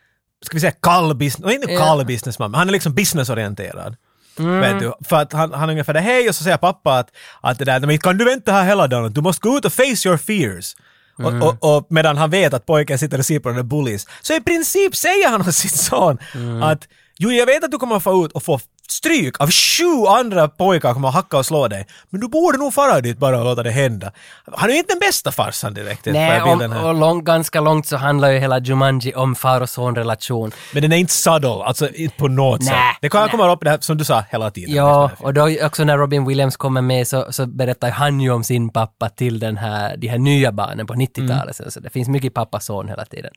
ska vi säga kall business, inte
Ja.
kall businessman, men han är liksom businessorienterad.
Mm.
Vet du? För att han, han ungefär det hej och så säger pappa att, att det där, men kan du vänta här hela dagen? Du måste gå ut och face your fears.
Mm.
Och, och, och medan han vet att pojken sitter och ser på den där bullies. Så i princip säger han åt sin son
Mm.
att jo, jag vet att du kommer få ut och få stryk av sju andra pojkar kommer hacka och slå dig. Men du borde nog fara dit bara och låta det hända. Han är ju inte den bästa farsan direkt. på den
Nej,
här bilden
om,
här.
och lång, ganska långt så handlar ju hela Jumanji om far och son-relation.
Men den är inte subtle, alltså inte på något
Nä,
sätt. Det kan
nä.
komma upp det här som du sa hela tiden.
Ja, och då också när Robin Williams kommer med så, så berättar han ju om sin pappa till den här, de här nya barnen på
Mm.
90-talet. Så det finns mycket pappa-son hela tiden.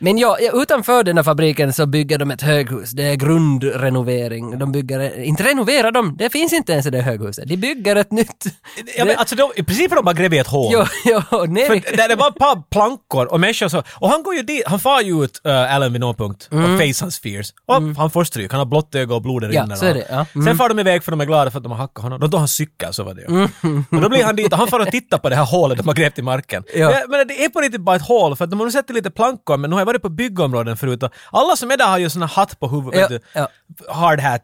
Men ja, ja, utanför den här fabriken så bygger de ett höghus. Det är grundrenovering. De bygger, inte renoverar de, det finns inte ens i det höghuset. De bygger ett nytt.
Ja, men, alltså, de, I princip har de bara grävt i ett hål.
Jo, jo, ner i-
För där det var ett par plankor och människor så... Och han går ju dit, han far ju ut äh, Allen vid någon punkt och face hans fears. Och han får stryk, han har blått öga och blodet
Mm. Ja,
rinner
så är
av.
det, ja. Mm.
Sen far de iväg för de är glada för att de har hackat honom. Då tar han cykel, så var det ju.
Mm.
Och då blir han dit och han far och tittar på det här hålet de har grävt i marken.
Ja.
Det- Men det är på riktigt bara ett hål för att de har nu sett lite plankor men nu har jag varit på byggområden förut och alla som är där har ju såna hatt på huvudet.
Ja,
vet du.
ja.
Hard hat.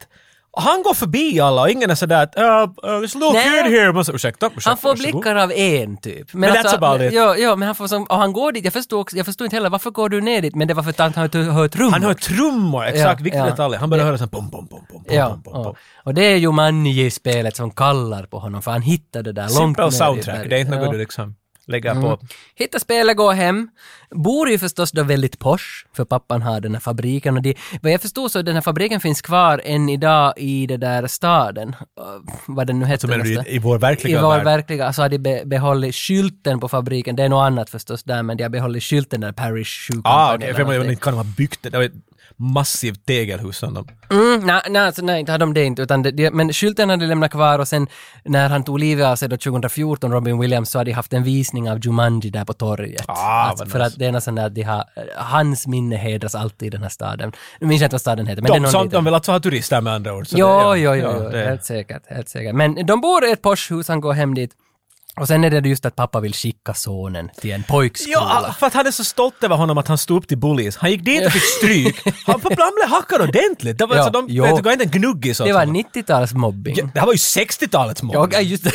Och Han går förbi alla och ingen är sådär att uh, uh, “It's a little
Nej.
kid here”. Man säger, ursäkta, ursäkta,
Han får
varsågod."
blickar av en typ. Men,
Men that's about it.
Ja, ja, men han får som, och han går dit, jag förstår, också, jag förstår inte heller varför går du ner dit, men det var för att han har hört- hört trummor.
Han hör trummor, exakt,
Ja,
vilken
ja.
detalj. Han börjar höra sån pom pom pom pom pom
Ja,
pom pom.
ja.
pom.
och det är ju Manji-spelet som kallar på honom för han hittade det där långt ner
Simpel
i Mm.
soundtrack,
berget.
det är inte
Ja.
något du liksom lägger på.
Hittar spelet, går hem. Bor ju förstås då väldigt posh, för pappan har den här fabriken och de, vad jag förstod så den här fabriken finns kvar än idag i den där staden, Uh, vad den nu hette.
Så menar du
nästa.
i- i vår verkliga
I vår
värld?
verkliga, så har de be, behållit skylten på fabriken, det är något annat förstås där, men de har behållit skylten där, Parish Shoe Company
Ah, okej,
eller
för jag menar,
någonting.
inte kan de ha byggt det. Det var ett massivt tegelhus som de...
Mm, nej, nej, alltså, nej, inte hade de det inte. Utan det, det, men skylten hade de lämnat kvar och sen när han tog livet av sig då 2014, Robin Williams, så hade de haft en visning av Jumanji där på torget.
Ah,
alltså,
vad
för
nice.
att det är något sånt där, att de har, hans minne hedras alltid i den här staden. Nu minns jag inte vad staden heter, men det är
De,
någon
som,
liten-
de vill alltså ha turister med andra ord. så
Jo,
det-
jo, jo, jo,
det-
helt säkert, helt säkert. Men de bor i ett Porschhus, han går hem dit. Och sen är det just att pappa vill skicka sonen till en pojkskola.
Ja, för att han är så stolt över honom att han stod upp till bullies. Han gick dit och fick stryk. Han, han blev hackad ordentligt. Det var,
Ja,
alltså, de,
jo.
vet, du, gav inte en gnugg i sånt.
det var
som-
90-talsmobbing.
Ja, det här var ju 60-talets
Ja,
mobbning.
just det.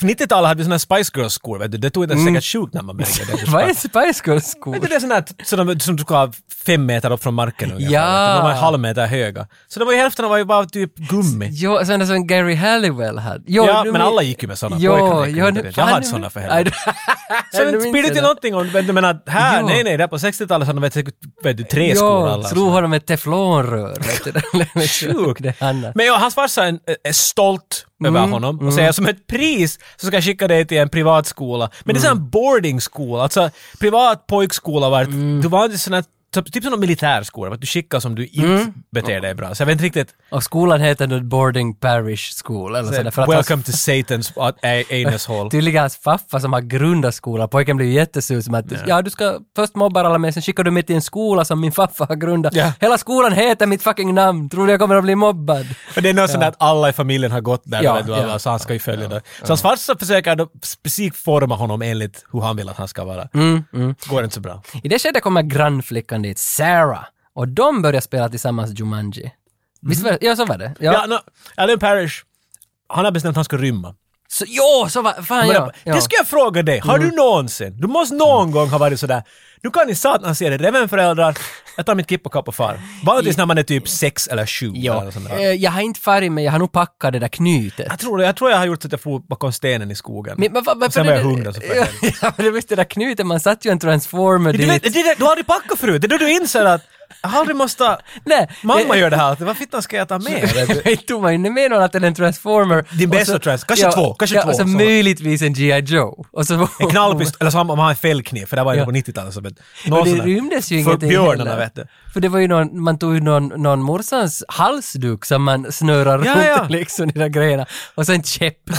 På 90-talet hade vi såna här Spice Girls-skor, vet du. Det tog inte ens säkert sjukt när man märkte det.
Mm. Vad är Spice Girls-skor?
Men det är sådana här så de, som du ska ha fem meter upp från marken ungefär.
Ja.
De var en halv meter höga. Så de var ju hälften var ju bara typ gummi.
Jo, sådana som Gary Halliwell hade. Jo,
Ja,
nu
men
min-
alla gick ju med sådana.
Jo,
Pojkarna gick
jo,
ju
nu-
inte det. Jag
fan,
hade
nu-
sådana för
Nej,
helvete.
du-
Så
nu
det
minns
spelar
jag
inte
det.
någonting om, men du menar att här,
Jo.
nej nej, där på 60-talet hade de vet, säkert, vet du, tre skor
Jo,
alla.
slog honom med teflonrör. vet du.
alltså. Sjukt!
Det är Mm, annat.
Men ja, hans farsa är, eh, är stolt över honom och säger som ett pris så ska jag skicka dig till en privatskola. Men det är
Mm.
en boarding school, alltså privat pojkskola vart
Mm.
du var inte sån här Typ typ som en militärskola, vart du skickas om du inte
Mm.
beter dig bra. Så jag vet inte riktigt.
Och skolan heter nu Boarding Parish School. Eller sådär, för att
eh,
Typ.
Welcome
hans,
to Satan's a- a- anus hole.
Tydligen hans pappa som har grundat skolan, pojken blev ju jättesur som att ja du ska först mobbar alla men sen skickar du mig till en skola som min farfar har grundat.
Ja.
Hela skolan heter mitt fucking namn, tror du jag kommer att bli mobbad?
För det är något sånt att alla i familjen har gått där,
Ja,
vet du, alla,
ja,
så han ska ju följa det. Så hans farsa försöker då specifikt forma honom enligt hur han vill att han ska vara.
Mm,
Går inte så bra.
I det skedet kommer grannflickan dit, Sarah, och de börjar spela tillsammans Jumanji. Visst var det? Ja, så var det. Ja.
Mhm. Ja, no, Alan Parrish, han har bestämt att han ska rymma.
Så, jo, så var fan
Men
ja.
det-
ja. Mm.
Det ska jag fråga dig, har du någonsin, du måste någon gång ha varit sådär, nu kan ni satan se det, revenföräldrar, jag tar mitt kipp och kapp och far. Vanligtvis när man är typ sex eller sju.
Ja.
Eller sånt
Eh,
där.
Jag har inte farit men jag har nog packat det där knytet.
jag, tror, det. jag tror jag har gjort så att jag for bakom stenen i skogen.
Men, men, vad-
och sen
varför är
var jag
det-
hungrig så får jag
Ja, ja, men det visste det där knutet, man satt ju en transformer
Men Du, vet,
dit.
det, är det, du har aldrig packat förut, det är då du inser att jag har aldrig måste...
Nej,
Mamma
det-
gör det här, alltid. vad fittan ska jag ta med?
Jag tog man ju med någon att det är en transformer.
Din
Och
bästa
så-
trans- kanske två, kanske
ja,
två,
Och så
så.
möjligtvis en G.I. Joe. Och så,
En knallpistol, eller så har man man har en fällkniv, för det var ju
Ja.
på 90-talet. så vet du.
Och
Någon
det
sån där.
rymdes ju
För
ingenting
björnarna
heller.
vet du.
För det var ju någon, man tog ju någon, någon morsans halsduk som man snörar
Ja,
runt
ja.
liksom i de där grejerna. Och sen käpp.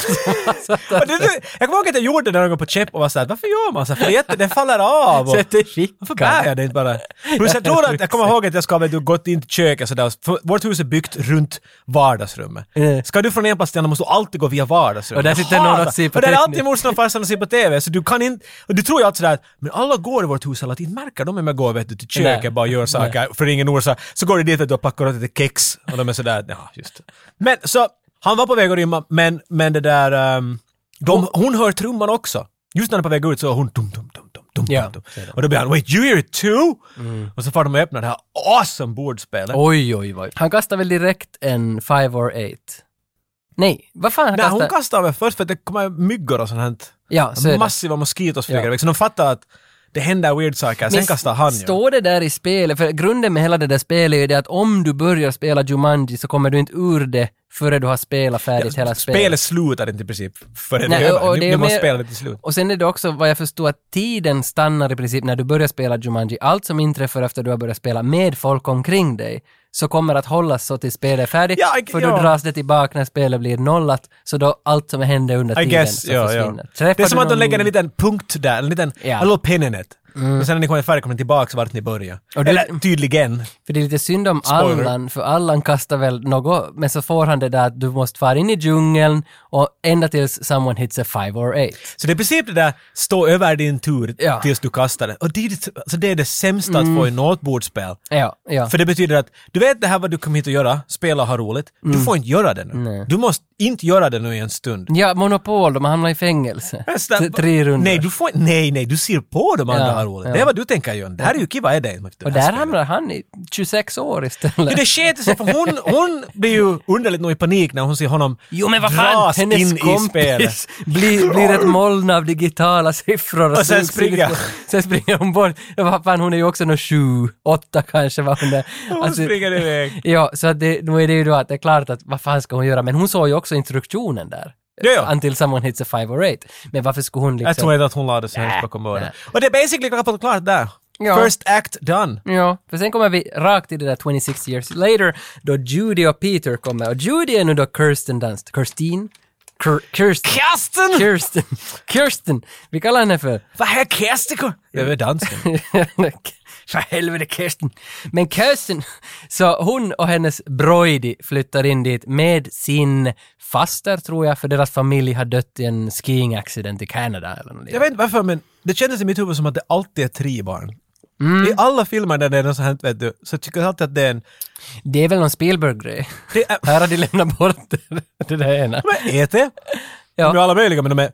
Men det- det- Jag kommer ihåg att jag gjorde det någon gång på Chep och var såhär, varför gör man så här? För det, är jätte- det faller av. Och,
Sätter
varför bär
fickan.
jag det inte bara? Plus jag tror att, jag kommer ihåg att jag ska väl du gått in till köket sådär. För vårt hus är byggt runt vardagsrummet.
Mm.
Ska du från en plats till en annan måste du alltid gå via vardagsrummet.
Och där sitter
Jag
någon och
hatar-
ser på
Och där är
teckning.
alltid morsan och farsan och ser på TV. Så du kan inte... Och du tror ju alltid sådär att, men alla går i vårt hus hela tiden. Märker de hur man går vet du, till köket
Nej.
bara gör saker för ingen orsak. Så går du dit vet du, och packar åt lite kex. Och de är sådär, ja just det." Men så, han var på väg att rymma men, men det där... ehm, de, hon hör trumman också. Just när han är på väg ut så hör hon dum, dum, dum, dum, dum,
Ja. Mm.
dum, dum. Och då blir han “Wait, you hear it too?” Och så får de och öppnar det här awesome bordspelet.
Oj, oj, oj. Han kastar väl direkt en five or eight? Nej, vad fan han
Nej, hon
kastar?
kastar väl först för att det kommer myggor och sånt här.
Ja, så är det.
Massiva moskitos flyger
Ja.
iväg. Så de fattar att det händer weird saker. Sen
Men
kastar han ju.
Står det där i spelet, för grunden med hela det där spelet är ju det att om du börjar spela Jumanji så kommer du inte ur det före du har spelat färdigt hela spelet.
Spelet slutar inte i princip förrän det
Nej,
är
och- och
över.
det
Ni,
är
ni
ju
måste
mer-
spela det till slut.
Och sen är det också vad jag förstår att tiden stannar i princip när du börjar spela Jumanji. Allt som inträffar efter du har börjat spela med folk omkring dig så kommer att hållas så tills spelet är färdigt.
Ja, I-
för
ja.
då dras det tillbaka när spelet blir nollat. Så då allt som hände under
I
tiden
guess,
så
ja, ja.
försvinner. Träffar
Det är som
du
att de
någon
lägger en
ny-
liten punkt där, en liten,
Ja. Mm.
en little pin in it. Och sen när ni kommer färdigt kommer ni tillbaka vart ni börjar.
Och det-
Eller tydligen.
För det är lite synd om
Spoiler.
Allan, för Allan kastar väl något, men så får han det där att du måste fara in i djungeln och ända tills someone hits a five or eight.
Så det är i princip det där, stå över din tur
Ja.
tills du kastar den. Och det är det, alltså det, är det sämsta att få i något bordspel.
Ja, ja.
För det betyder att, du vet det här vad du kom hit och göra, spela och ha roligt. Du
Mm.
får inte göra det nu. Du måste inte göra det nu i en stund.
ja, Monopol, de hamnar i fängelse.
Nästa-
T- Tre runder.
Nej, du får inte- nej, nej, du ser på de andra
Ja,
ha roligt.
ja.
Det är vad du tänker göra. Det här är ju kiva är det.
och där hamnar han i 26 år
Ja,
istället.
det sket sig, för hon, hon blir ju underligt nog i panik när hon ser honom
Jo men vad fan,
dras in
hennes
i spelet.
kompis Alltså, blir, blir ett moln av digitala siffror.
Och sen
sugs in i
springer.
spelet. Sen springer hon bort. Ja, Vad fan, hon är ju också nog sju, åtta kanske var hon där.
Hon springer iväg.
Ja, så att det, nu är det ju då att det är klart att vad fan ska hon göra, men hon såg ju också instruktionen där.
Ja, ja.
Until someone hits a five or eight. Men varför skulle hon liksom...
Jag tror inte att hon lade sig ens bakom öronen. Och det är basically klart klart där.
Ja.
First act done.
Ja, för sen kommer vi rakt till det där 26 years later då Judy och Peter kommer. Och Judy är nu då Kirsten Dunst. Kirstine? Kir- Kirsten?
Kirsten!
Kirsten! Kirsten! Vi kallar henne för...
Vad här Kerstikon? Det är väl dansken.
För helvete Kirsten! Men Kirsten, så hon och hennes broidy flyttar in dit med sin faster tror jag, för deras familj har dött i en skiing accident i Kanada eller något
Jag
liknande.
vet inte varför men det kändes i mitt huvud som att det alltid är tre barn.
Mm.
I alla filmer där det är något sånt här, vet du, så tycker jag alltid att det är en...
Det är väl någon Spielberg-grej?
Det är,
Här har de lämnat bort det där ena.
men ET?
Ja.
De är alla möjliga men de är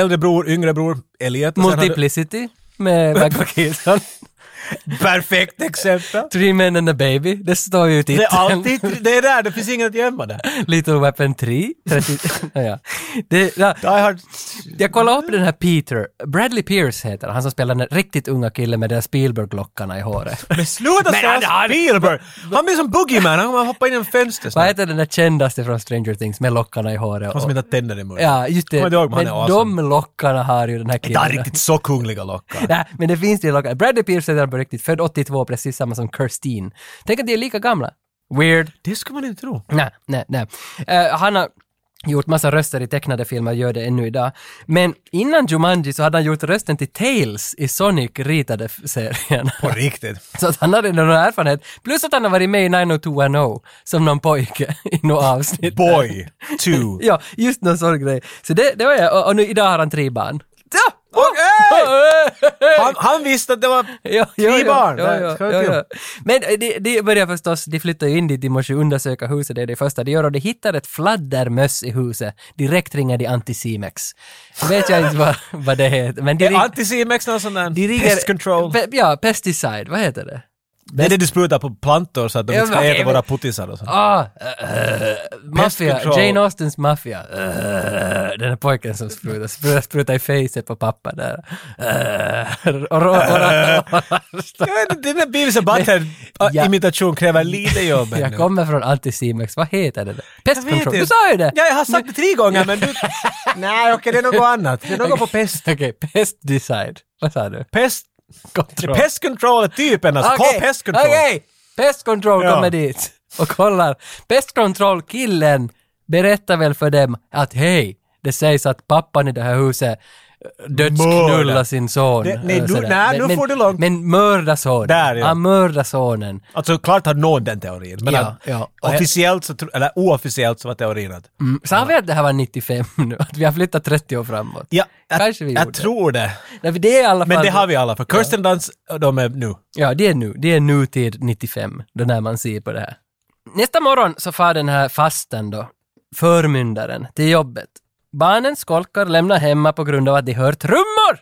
äldre bror, yngre bror, Elliot. och sen har du-
Multiplicity med Michael Keaton.
Perfekt exempel!
Three Men and a Baby, det står ju i
Det
titeln.
är alltid, det är där, det finns inget att gömma där.
Little Weapon 3. 30, ja, ja. Det, ja.
Die Hard...
Jag kollade upp den här Peter, Bradley Pierce heter han, han som spelar den riktigt unga killen med de där Spielberg-lockarna i håret.
Men sluta säga Spielberg! Han blir som Boogeyman, han kommer hoppa in i en fönster
Vad
snart.
heter den där kändaste från Stranger Things med lockarna i håret?
Han som
och-
inte har tänder i munnen.
ja, just
Kommer
det.
du ihåg, men han
Men
är awesome.
de lockarna har ju den här
Inte
killen.
han riktigt så kungliga lockar.
Nej, men det finns det lockar. Bradley Pierce heter han på riktigt, född 82, precis samma som Kirstine. Tänk att de är lika gamla. Weird.
Det skulle man inte tro.
Nej, nej, nej. Eh, han har gjort massa röster i tecknade filmer, gör det ännu idag. Men innan Jumanji så hade han gjort rösten till Tails i Sonic ritade f- serien.
På riktigt.
Så att han hade någon erfarenhet. Plus att han har varit med i 90210 som någon pojke i något avsnitt.
Boy, two.
Ja, just någon sån grej. Så det, det var jag. Och, och nu idag har han tre barn. Ja!
Okej! Han, han visste att det var...
Ja, ja,
Tre
ja,
barn.
Ja,
Nej,
ja,
ska vi
ja,
till?
ja. Men eh, det, det börjar förstås, de flyttar ju in dit, de måste ju undersöka huset, det är det första de gör och de hittar ett fladdermöss i huset. Direkt ringer de Anticimex. Så vet jag inte vad, vad det heter, men de, ring,
Antisimex, någon sån där...
de ringer...
Pest control.
Pe, ja, pesticide, vad heter det?
Det är det du sprutar på plantor så att de
Ja,
inte ska
men-
äta våra puttisar och sånt.
Ah, eh, eh, maffia,
control.
Jane Austens maffia. Eh, den här pojken som sprutar, sprutar, sprutar i facet på pappa där. Eh, och, och, och,
Jag vet inte, Den där Beavis and Butthead-imitation kräver lite jobb
Jag
ännu.
kommer från Anticimex, vad heter det? där? Pest
Jag vet
control,
inte.
du sa ju det!
Ja, jag har sagt det tre gånger men du... Nej, okej, det är något annat. Det är något på pest.
Okej, pest decide. Vad sa du?
Pest...
Kontroll.
Pest control är typen alltså. Call pest control.
Okej! Pest control
Ja.
kommer dit och kollar. Pest control killen berättar väl för dem att hej, det sägs att pappan i det här huset eh, dödsknulla
Mörda.
sin son.
Det- nej,
eh,
nu-
sådär.
nej, nu
men,
får du långt.
Men mörda sonen.
Där, ja.
Han mördar sonen.
Alltså klart har någon den teorin, men
Ja,
att
ja. Och-
officiellt, så, tro- eller oofficiellt så var teorin att...
Mm. Sa vi att det här var 95 nu? Att vi har flyttat 30 år framåt?
Ja, jag,
Kanske vi gjorde.
jag tror det.
Nej, för det är i alla fall...
Men det har vi alla, för Kirsten Dunst, eh, de är nu.
Ja, det är nu. Det är nutid 95, då när man ser på det här. Nästa morgon så far den här fasten då, förmyndaren, till jobbet. Barnen skolkar, lämnar hemma på grund av att de hör trummor!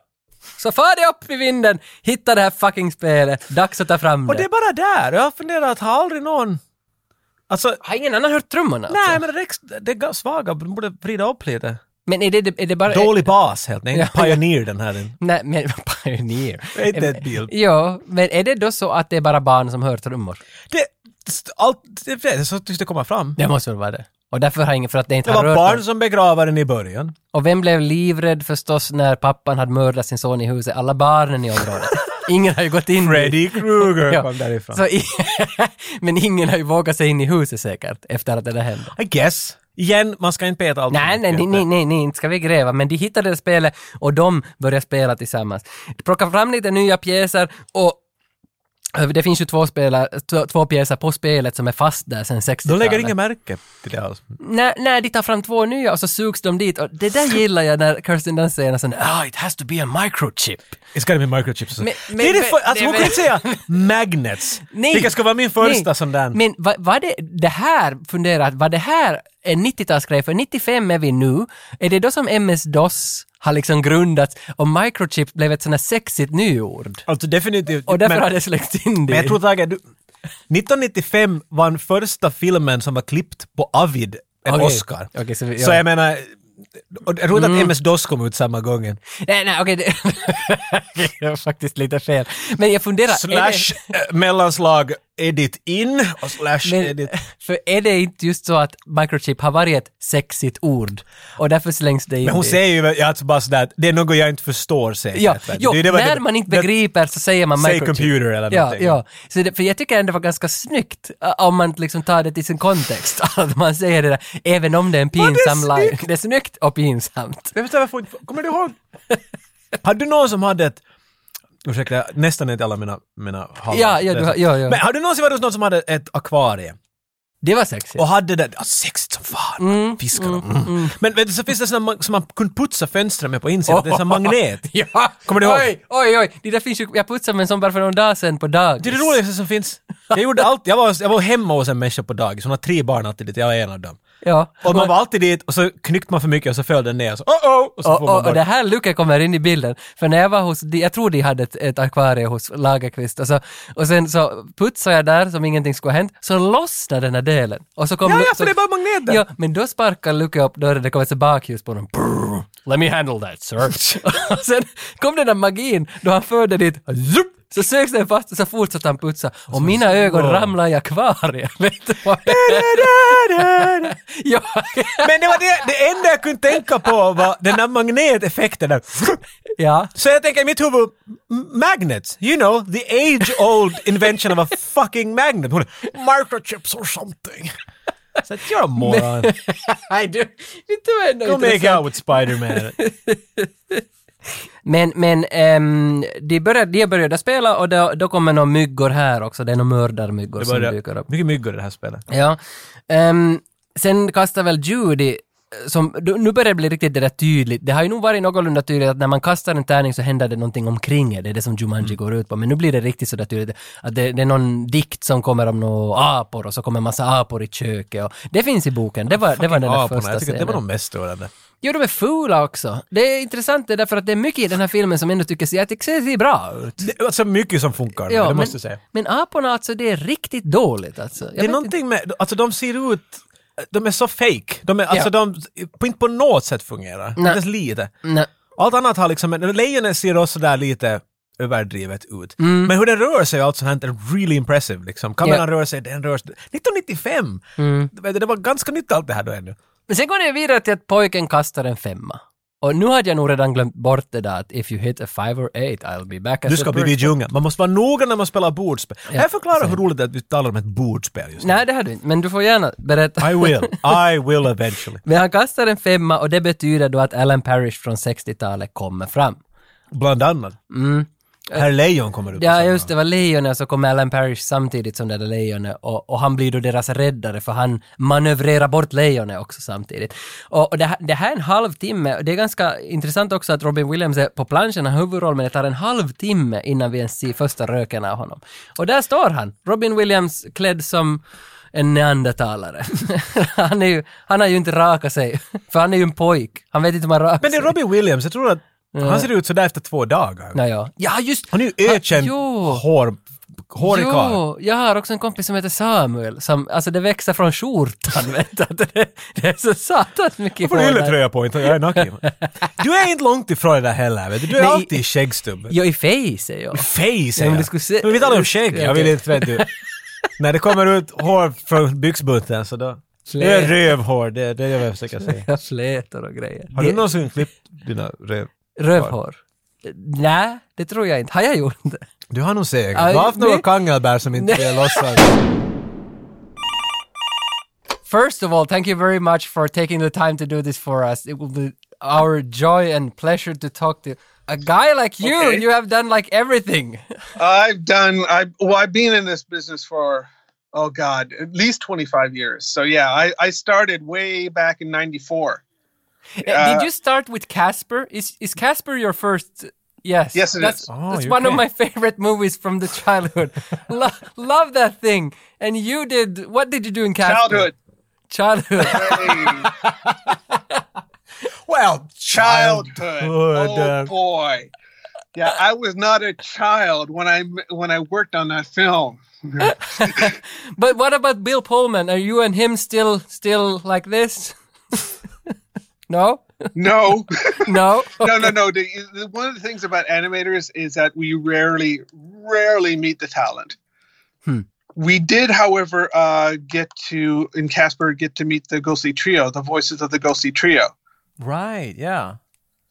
Så far de upp i vinden, hittar det här fucking spelet, dags att ta fram det.
Och det är bara där, jag har funderat, har aldrig någon... Alltså,
Har ingen annan hört trummorna alltså?
nej men det, räcks- det är svaga, de borde vrida upp lite.
Men är det, är det bara...
Dålig bas helt enkelt,
Ja.
pioneer den här. den.
Nej, men pioneer.
Det är inte ett bild.
Ja, men är det då så att det är bara barn som hör trummor?
Det, allt, det, det är så tycks det komma fram.
Det måste väl vara det. Och därför har ingen, för att det Mm. inte
Det
har
var
rört
barn som begravar den i början.
Och vem blev livrädd förstås när pappan hade mördat sin son i huset? Alla barnen i området. Ingen har ju gått in dit.
Freddy Krueger
Ja.
kom därifrån.
Så i- Men ingen har ju vågat sig in i huset säkert efter att det där hände.
I guess. Igen, man ska inte peta allt.
Nej, nej, nej, nej, nej, nej, inte ska vi gräva. Men de hittade det spelet och de började spela tillsammans. Plocka fram lite nya pjäser och eh, det finns ju två, spelar, t- två pjäser på spelet som är fast där sen 60-talet.
De lägger inget märke till det alls.
när, när de tar fram två nya och så sugs de dit. Och det där gillar jag när Kirsten Dunst säger sån ah, it has to be a microchip.
It's gotta be microchips.
Men-
det är det
men-
för, alltså,
men-
hon kunde inte säga magnets.
Nej.
Vilket ska vara min första
Nej,
sån där.
Men vad vad det, det här, fundera, att vad det här är 90-talsgrej, för 95 är vi nu, är det då som MS-DOS har liksom grundats och microchip blev ett sånt här sexigt nyord?
alltså definitivt.
Och därför
men,
har det släckts in
men jag
dit.
tror Tage, du, 1995 var den första filmen som var klippt på Avid en
Okej.
Oscar.
Okej, så vi-
Så
ja. Mm.
jag menar, och jag tror inte att MS-DOS kom ut samma gången.
Nej, nej, okej, det, det var faktiskt lite fel. Men jag funderar, är
Slash
det,
eh, mellanslag edit in och slash
men,
edit...
för är det inte just så att microchip har varit ett sexigt ord och därför slängs det in
Men hon
dit?
säger ju alltså bara sådär att det är något jag inte förstår säkert.
Ja,
Det är
jo,
det vad
när
det-
man inte
det-
begriper så säger man
Say
microchip.
computer eller
ja,
någonting.
ja. Så det, för jag tycker ändå det var ganska snyggt ä, om man liksom tar det till sin kontext. Att man säger det där, även om det är en
är
pinsam line.
snyggt!
Det är snyggt och pinsamt.
Jag förstår varför inte... Kommer du ihåg? hade du någon som hade ett... Ursäkta, nästan inte alla mina, mina hallar.
Ja, ja, du har- ja, ja.
Men har du någonsin varit hos någon som hade ett akvarie?
Det var sexigt.
Och hade det... Ja, sexigt som fan. Fiskar de. Mm. Men vet du, så finns det såna ma- som man kunde putsa fönstren med på insidan. Det är sån magnet.
Ja,
Kommer du ihåg?
Oj, oj, oj. Det där finns ju, jag putsade med en sån bara för någon dag sedan på dagis.
Det är det roligaste som finns. Jag gjorde allt. Jag var, jag var hemma hos en människa på dagis. Hon har tre barn alltid dit. Jag var en av dem.
Ja.
Och man var alltid dit och så knyckte man för mycket och så föll den ner. Och så, oh, oh, och så
Och,
får man
och, och
bort.
det här Luca kommer in i bilden. För när jag var hos, de- jag tror de hade ett, ett akvarie hos Lagerqvist och, så, och sen så putsade jag där som ingenting skulle ha hänt, så lossnade den här delen. Och så kom
Ja,
Lu-
ja,
så,
för det är bara magneten.
Ja, men då sparkar Luca upp dörren, det kom ett bakljus på honom. Brrr. Let me handle that sir. och sen kom den där magin då han förde dit, zup, så sögs den fast och så fortsatte han putsa. Och mina ögon ramlade i akvariet. Vet du vad jag- ja,
Men det var det, det enda jag kunde tänka på var den där magneteffekten. Där.
ja.
Så jag tänker i mitt huvud, m- magnets, you know, the age old invention of a fucking magnet. Hon är, microchips or something. Så att you're a moron.
Nej, du, vet du vad ändå
Go
intressant?
make out with Spider-Man.
Men, men ehm, de, började, de började spela och då, då kommer några myggor här också. Det är några mördarmyggor
Det
som dyker
börjar,
upp.
mycket myggor i det här spelet.
Ja. Ehm, sen kastar väl Judy eh, som, då- nu börjar det bli riktigt det där tydligt. Det har ju nog varit någorlunda tydligt att när man kastar en tärning så händer det någonting omkring er. Det är det som
Mm.
Jumanji går ut på. Men nu blir det riktigt sådär tydligt att det, det är någon dikt som kommer om några apor och så kommer en massa apor i köket. Och, det finns i boken. Det var, det var den där
Aporna,
första
jag tycker att det var
scenen.
de mest störande.
Jo, de är fula också. Det är intressant det därför att det är mycket i den här filmen som ändå tycker sig, jag tycker det ser bra ut.
Det, alltså mycket som funkar, det
men,
måste jag säga.
men aporna alltså, det är riktigt dåligt alltså. Jag
Det är
vet
någonting med, alltså de ser ut, de är så fake. De är, alltså de, på, inte på något sätt fungerar. Inte ens lite.
inte. Nej.
Allt annat har liksom, en- lejonet ser också där lite överdrivet ut.
Mm.
Men hur den rör sig och allt sånt här är really impressive liksom. Kameran rör sig, den rör sig. 1995!
Mm.
Du vet, Det var ganska nytt allt det här då ännu.
Men sen går det vidare till att pojken kastar en femma. Och nu hade jag nog redan glömt bort det där att if you hit a five or eight I'll be back as
Du
a
ska bli
bird."
vid djungeln. Man måste vara noga när man spelar bordspel.
Ja,
jag förklarar
säg.
hur roligt det är att vi talar om ett bordspel just nu.
Nej, det hade du inte, men du får gärna berätta.
I will. I will eventually.
Men han kastar en femma och det betyder då att Alan Parrish från 60-talet kommer fram.
Bland annat. Herr Lejon kommer upp.
Mm. Ja, just det, var lejonen så kommer Alan Parrish samtidigt som det där lejonet och, och han blir då deras räddare för han manövrerar bort lejonet också samtidigt. Och, och det, här, det här är en halvtimme och det är ganska intressant också att Robin Williams är på planschen, han har huvudroll, men det tar en halvtimme innan vi ens ser första röken av honom. Och där står han, Robin Williams klädd som en neandertalare. han, är ju, han har ju inte rakat sig, för han är ju en pojk. Han vet inte hur man rakar
Men det är
sig.
Robbie Williams. Jag tror att han ser ut sådär efter två dagar.
Ja, ja. ja, just
Han är ju ökänd
jo.
hår, hårig karl.
Jo, jag har också en kompis som heter Samuel, som, alltså det växer från skjortan, vet du. Det, det är så satans mycket
Varför
hår
har du
där.
ylletröja på? Inte jag är naken. Du är inte långt ifrån det där heller. Vet du. du är
Nej.
alltid skäggstubb.
Ja, i face är jag.
Face säger
men
jag.
du skulle se-
Men vi talar om skägg. Jag vill
Okej.
inte vet du. När det kommer ut hår från byxbunten så då. Det är rövhår, det, det är vad jag försöker säga.
Jag flätor och grejer.
Har du
Det-
någonsin klippt dina röv?
Rövhår? Nej, det tror jag inte. Har jag gjort det?
Du har nog säkert.
Aj,
Du har haft några
nej.
kangelbär som inte
Nej.
är lossade.
First of all, thank you very much for taking the time to do this for us. It will be our joy and pleasure to talk to a guy like you.
Okay.
You have done like everything.
I've done. I well, I've been in this business for oh god, at least twenty five years. So yeah, I I started way back in '94.
Did you start with Casper? Is is Casper your first? Yes.
Yes, it
that's,
is.
Oh,
that's
you
one of
can.
my favorite movies from the childhood. Lo- love that thing. And you did. What did you do in Casper?
Childhood.
Childhood. Childhood.
Hey,
Well,
childhood.
uh,
Oh boy. Yeah, I was not a child when I when I worked on that film.
but what about Bill Pullman? Are you and him still still like this? no.
No,
No.
no, no, no. The, the- one of the things about animators is that we rarely, rarely meet the talent. We did, however, uh, get to in Casper get to meet the Ghostly Trio, the voices of the Ghostly Trio.
Right, yeah.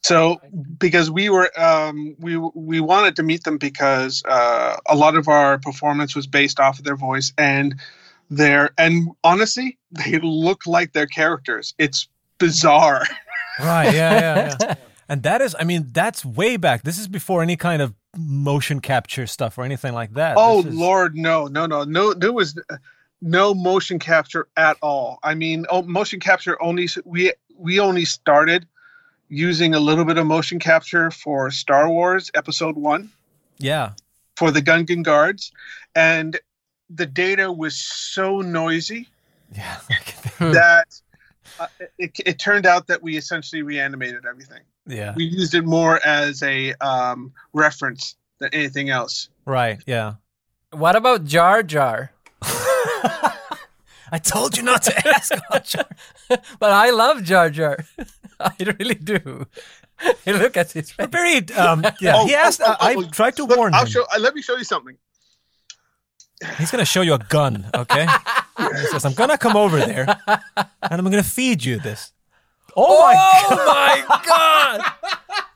So, because we were um, we we wanted to meet them because uh, a lot of our performance was based off of their voice and their and honestly, they look like their characters. It's bizarre.
Right, yeah, yeah, yeah. And that is, I mean, that's way back. This is before any kind of motion capture stuff or anything like that.
Oh
This is-
Lord, no, no, no, no. There was no motion capture at all. I mean, oh, motion capture only we we only started using a little bit of motion capture for Star Wars Episode One
Yeah.
for the Gungan guards, and the data was so noisy
Yeah. Hmm.
that uh, it, it turned out that we essentially reanimated everything.
yeah.
We used it more as a um, reference than anything else.
Right, yeah.
What about Jar Jar?
I told you not to ask.
But I love Jar Jar. I really do. You look at his face.
Buried. Um, yeah.
Oh,
he asked.
oh, oh,
I, I
oh,
tried to
Look,
warn
I'll
him.
show. uh, Let me show you something.
He's gonna show you a gun, okay? he says, "I'm gonna come over there, and I'm gonna feed you this." Oh,
Oh my god!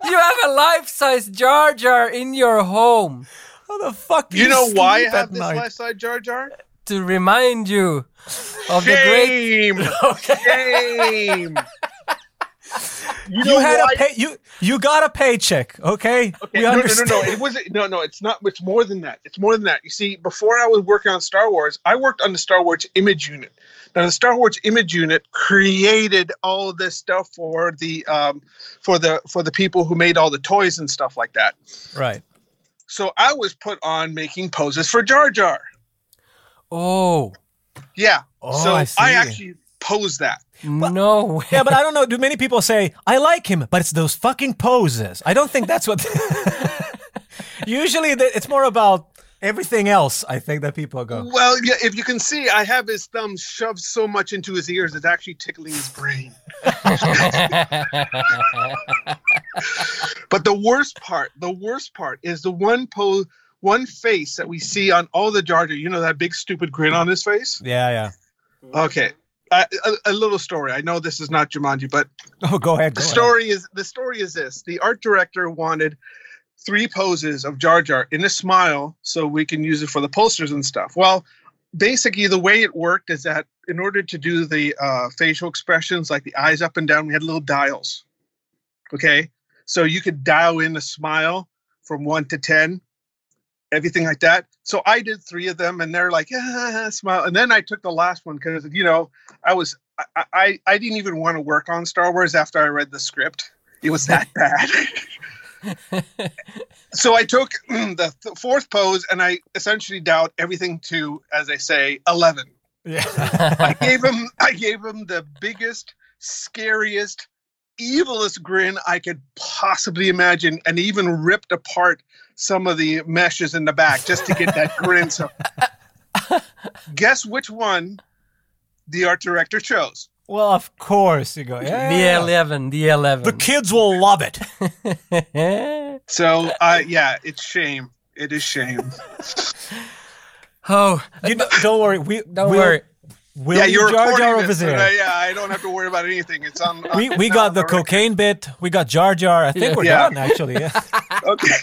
You have a life-size Jar Jar in your home
How the fuck? do
You know why I
sleep
have
at
this
night?
left side Jar Jar?
to remind you of the great.
Shame! Shame!
You, had a pay. You you got a paycheck, okay?
No,
we
no, no, no,
understand.
no. It wasn't. No, no. It's not. It's more than that. It's more than that. You see, before I was working on Star Wars, I worked on the Star Wars image unit. Now, the Star Wars image unit created all this stuff for the um, for the for the people who made all the toys and stuff like that.
Right.
So I was put on making poses for Jar Jar.
Oh
Yeah.
Oh,
so
I
I,
see.
actually posed that.
no way!
Yeah, but I don't know. Do many people say I like him, but it's those fucking poses? I don't think that's what. Usually, the, it's more about everything else. I think that people go.
Well, yeah, if you can see, I have his thumb shoved so much into his ears, it's actually tickling his brain. but the worst part, the worst part is the one pose, one face that we see on all the Jar Jar. You know that big stupid grin on his face?
Yeah, yeah.
Okay. Uh, a, a little story. I know this is not Jumanji, but
Oh, go ahead. Go
the
ahead.
story is the story is this: the art director wanted three poses of Jar Jar in a smile, so we can use it for the posters and stuff. Well, basically, the way it worked is that in order to do the uh, facial expressions, like the eyes up and down, we had little dials. Okay, so you could dial in a smile from one to ten, everything like that. So I did three of them, and they're like ah, smile, and then I took the last one because you know I was I, I, I didn't even want to work on Star Wars after I read the script. It was that bad. so I took the th- fourth pose and I essentially dialed everything to, as they say, eleven.
Yeah.
I gave him I gave him the biggest, scariest, evilest grin I could possibly imagine, and even ripped apart some of the meshes in the back just to get that grin. So, guess which one the art director chose.
well, of course you go. Yeah.
The eleven, the eleven.
The kids will love it.
So uh, yeah, it's shame. It is shame.
oh,
You know, don't worry. We
don't
we'll-
worry.
We'll
yeah, you're
Jar
recording
Jar
this,
over
so,
there.
uh, yeah, I don't have to worry about anything. It's on. on-
We we
it's
got
on
the
record.
cocaine bit. We got Jar Jar. I think
Yeah.
we're
Yeah.
done actually. Yeah.
Okay.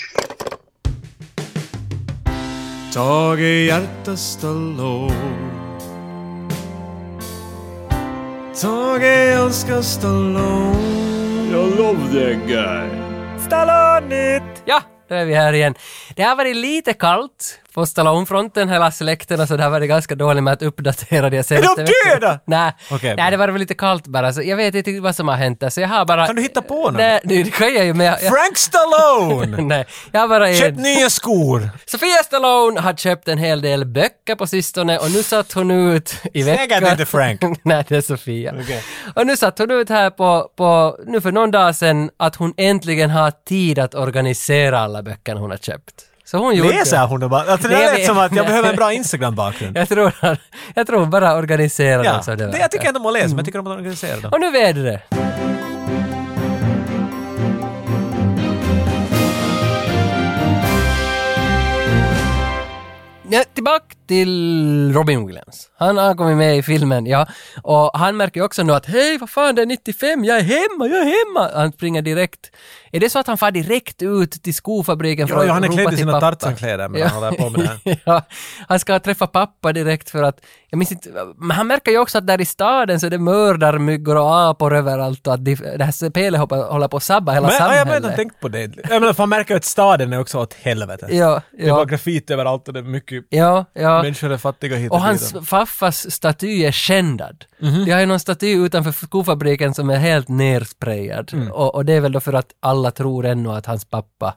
Tag i hjärtesta lår Tag i älskar Stallone Jag love that guy
Ja, då är vi här igen. Det har varit lite kallt på Stallone-fronten, hela släkten och så det har varit ganska dåligt med att uppdatera det senaste
Är de döda?
Nej,
Okej,
Nej
bra.
det var väl lite kallt bara, så jag vet inte vad som har hänt där, så jag har bara...
Kan du hitta på något?
Nej, det det kan jag ju, men jag... jag
Frank Stallone!
Nej, jag har bara
Köp
en.
nya skor!
Sofia Stallone har köpt en hel del böcker på sistone och nu satt hon ut i
Säg att
veckan...
det inte är Frank.
Nej, det är Sofia.
Okej.
Och nu satt hon ut här på, på, nu för någon dag sedan, att hon äntligen har tid att organisera alla böckerna hon har köpt. Så hon gjorde
Läser hon det bara? Alltså,
Nej,
det
jag
lät
vet.
som att jag
Nej.
behöver en bra Instagram-bakgrund.
Jag tror, han- jag tror bara organiserade
Ja,
så det
det
var.
jag tycker inte om att läsa, men jag tycker om att organisera dem.
Och nu vädret. Ja, tillbaka till Robin Williams. Han har kommit med i filmen, ja. Och han märker ju också nu att hej, vad fan, det är 95, jag är hemma, jag är hemma! Han springer direkt. Är det så att han far direkt ut till skofabriken
Ja,
för att
ja, han är
ropa
klädd i
till
sina
pappa?
Tarzan-kläder, men han håller på med det här.
ja, han ska träffa pappa direkt för att, jag minns inte, men han märker ju också att där i staden så är det mördarmyggor och apor överallt och att de, det här spelet hoppa- håller på att sabba hela
Men, ja, jag har
samhället.
inte tänkt på det. Jag menar, för man märker ju att staden är också åt helvete.
ja,
Det är bara
ja,
graffiti överallt och det är mycket
ja, ja.
människor är fattiga hit och,
Och hans
dit.
faffas staty är skändad.
Mhm.
De har ju någon staty utanför skofabriken som är helt nersprayad.
Mm.
Och, och det är väl då för att alla tror ännu att hans pappa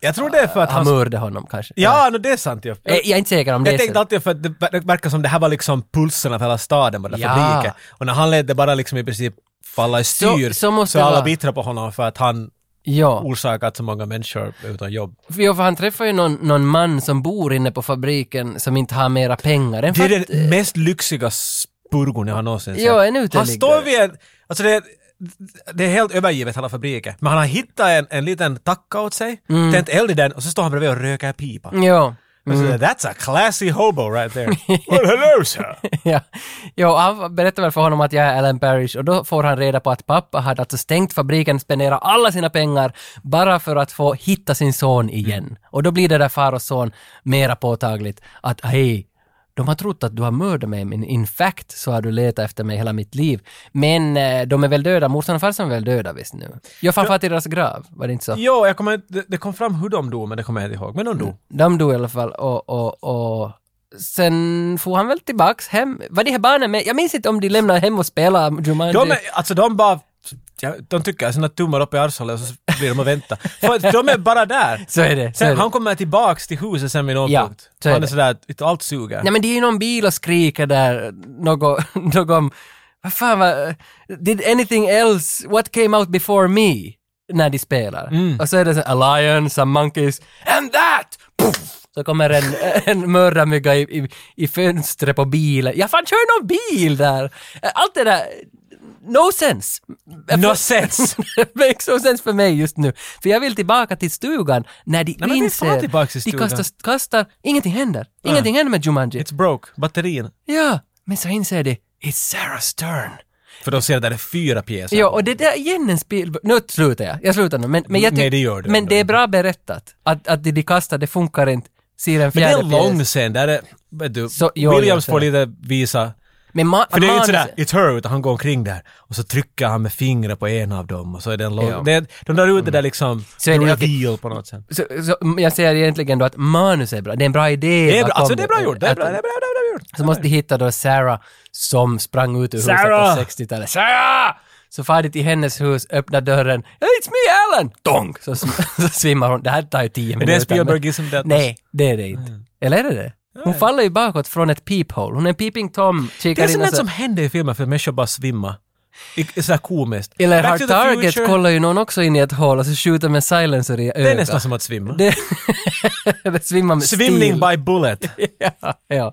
Jag tror det är för att
har
han...
mördade honom kanske. Eh,
Ja, no, det är sant ju.
Jag, jag är inte säker om Ah, det
Jag
är
tänkte
så.
alltid för att det ver- det verkar som det här var liksom pulsen av hela staden, bara
Ja.
fabriken. Och när han lät det bara liksom i princip falla i styr,
så måste det
alla
vara.
bittrade på honom för att han
Ja.
orsakat så många människor utan jobb.
Jo, för han träffar ju någon, någon man som bor inne på fabriken som inte har mera pengar. En
Det är
fatt-
den mest lyxiga spurgon jag har någonsin sett.
eh, Ja, en uteliggare.
Han står vid en... Alltså det, är- det är helt övergivet hela fabriken. Men han har hittat en, en liten tacka åt sig,
Mm.
tänt eld i den och så står han bredvid och röker pipa.
Ja.
Och så, That's a classy hobo right there. well hello sir!
Ja. Jo, han berättar väl för honom att jag är Alan Parrish och då får han reda på att pappa hade alltså stängt fabriken, spenderat alla sina pengar bara för att få hitta sin son igen.
Mm.
Och då blir det där far och son mera påtagligt att hej, de har trott att du har mördat mig, men in fact så har du letat efter mig hela mitt liv. Men eh, de är väl döda, morsan och farsan är väl döda visst nu? Jag fan far till deras grav, var det inte så?
Jo, jag kommer, inte- det, det kom fram hur de dog, men det kommer jag inte ihåg. Men de dog.
De dog i alla fall och, och, och sen får han väl tillbaks hem. Var de här barnen med? Jag minns inte om de lämnade hem och spelade Jumanji.
De, är, alltså de bara... ja, De tycker sina tummar upp i arshålet och så blir de och väntar. För att de är bara där.
Så är det. Så är
Sen,
det.
han kommer tillbaks till huset sen vid någon
Ja,
punkt.
så är
han är
det.
sådär att allt suger.
Nej men det är ju någon bil och skriker där, något, något om, vad fan vad, did anything else, what came out before me? När de spelar.
Mm.
Och så är det så här, a lion, some monkeys, and that! Puff! Så kommer en, en mördarmygga i, i, i fönstret på bilen. Jag fan kör någon bil där! Allt det där, no sense!
No sense!
makes no sense för mig just nu. För jag vill tillbaka till stugan när de
men vi
inser,
far tillbaka till
de
stugan.
kastar, kastar, ingenting händer. Ingenting händer med Jumanji.
It's broke. Batterin.
Ja, men så inser de, It's Sarah Stern.
För de ser att det är fyra pjäser.
Ja, och det där igen en Spielberg. Nu slutar jag. Jag slutar nu. Men, men jag tyck-
Nej, det gör du
Men
ändå.
det är bra berättat. Att, att det de kastar, det funkar inte. Ser en
Men det
fjärde
är en lång
pjäs.
scen där det, vet du,
Så- jo,
Williams
jo,
får
så-
lite visa
Men ma-
För det är ju inte
manus-
sådär ”It's her” utan han går omkring där och så trycker han med fingret på en av dem och så är det en lång...
Ja.
Det är, de där ute där liksom...
Så är det,
reveal på något sätt.
Så, så jag säger egentligen då att manus är bra. Det är en bra idé.
Det är bra,
bakom
alltså det är bra gjort. Det är
Att-
bra, det är bra, det är bra gjort.
Så måste de hitta då Sarah som sprang ut ur
Sarah!
huset på 60-talet. Sarah! Så far de till hennes hus, öppnar dörren. It's me Alan! Dong! Så, sm- så svimmar hon. Det här tar ju tio minuter.
det är
men-
Spielbergism det.
Nej, det är det inte.
Mm.
Eller är det det? Hon faller ju bakåt från ett peephole. Hon är en peeping tom,
Det
kikar
är
in
sånt
och
där som händer i filmen för människor bara svimma. I- Sådär komiskt.
Eller
Back
har
to the
Target
Future,
kollar ju någon också in i ett hål och så skjuter med silencer i ögat.
Det är nästan som att svimma.
Det, det svimmar med
Svimning
stil.
by bullet.
ja, ja.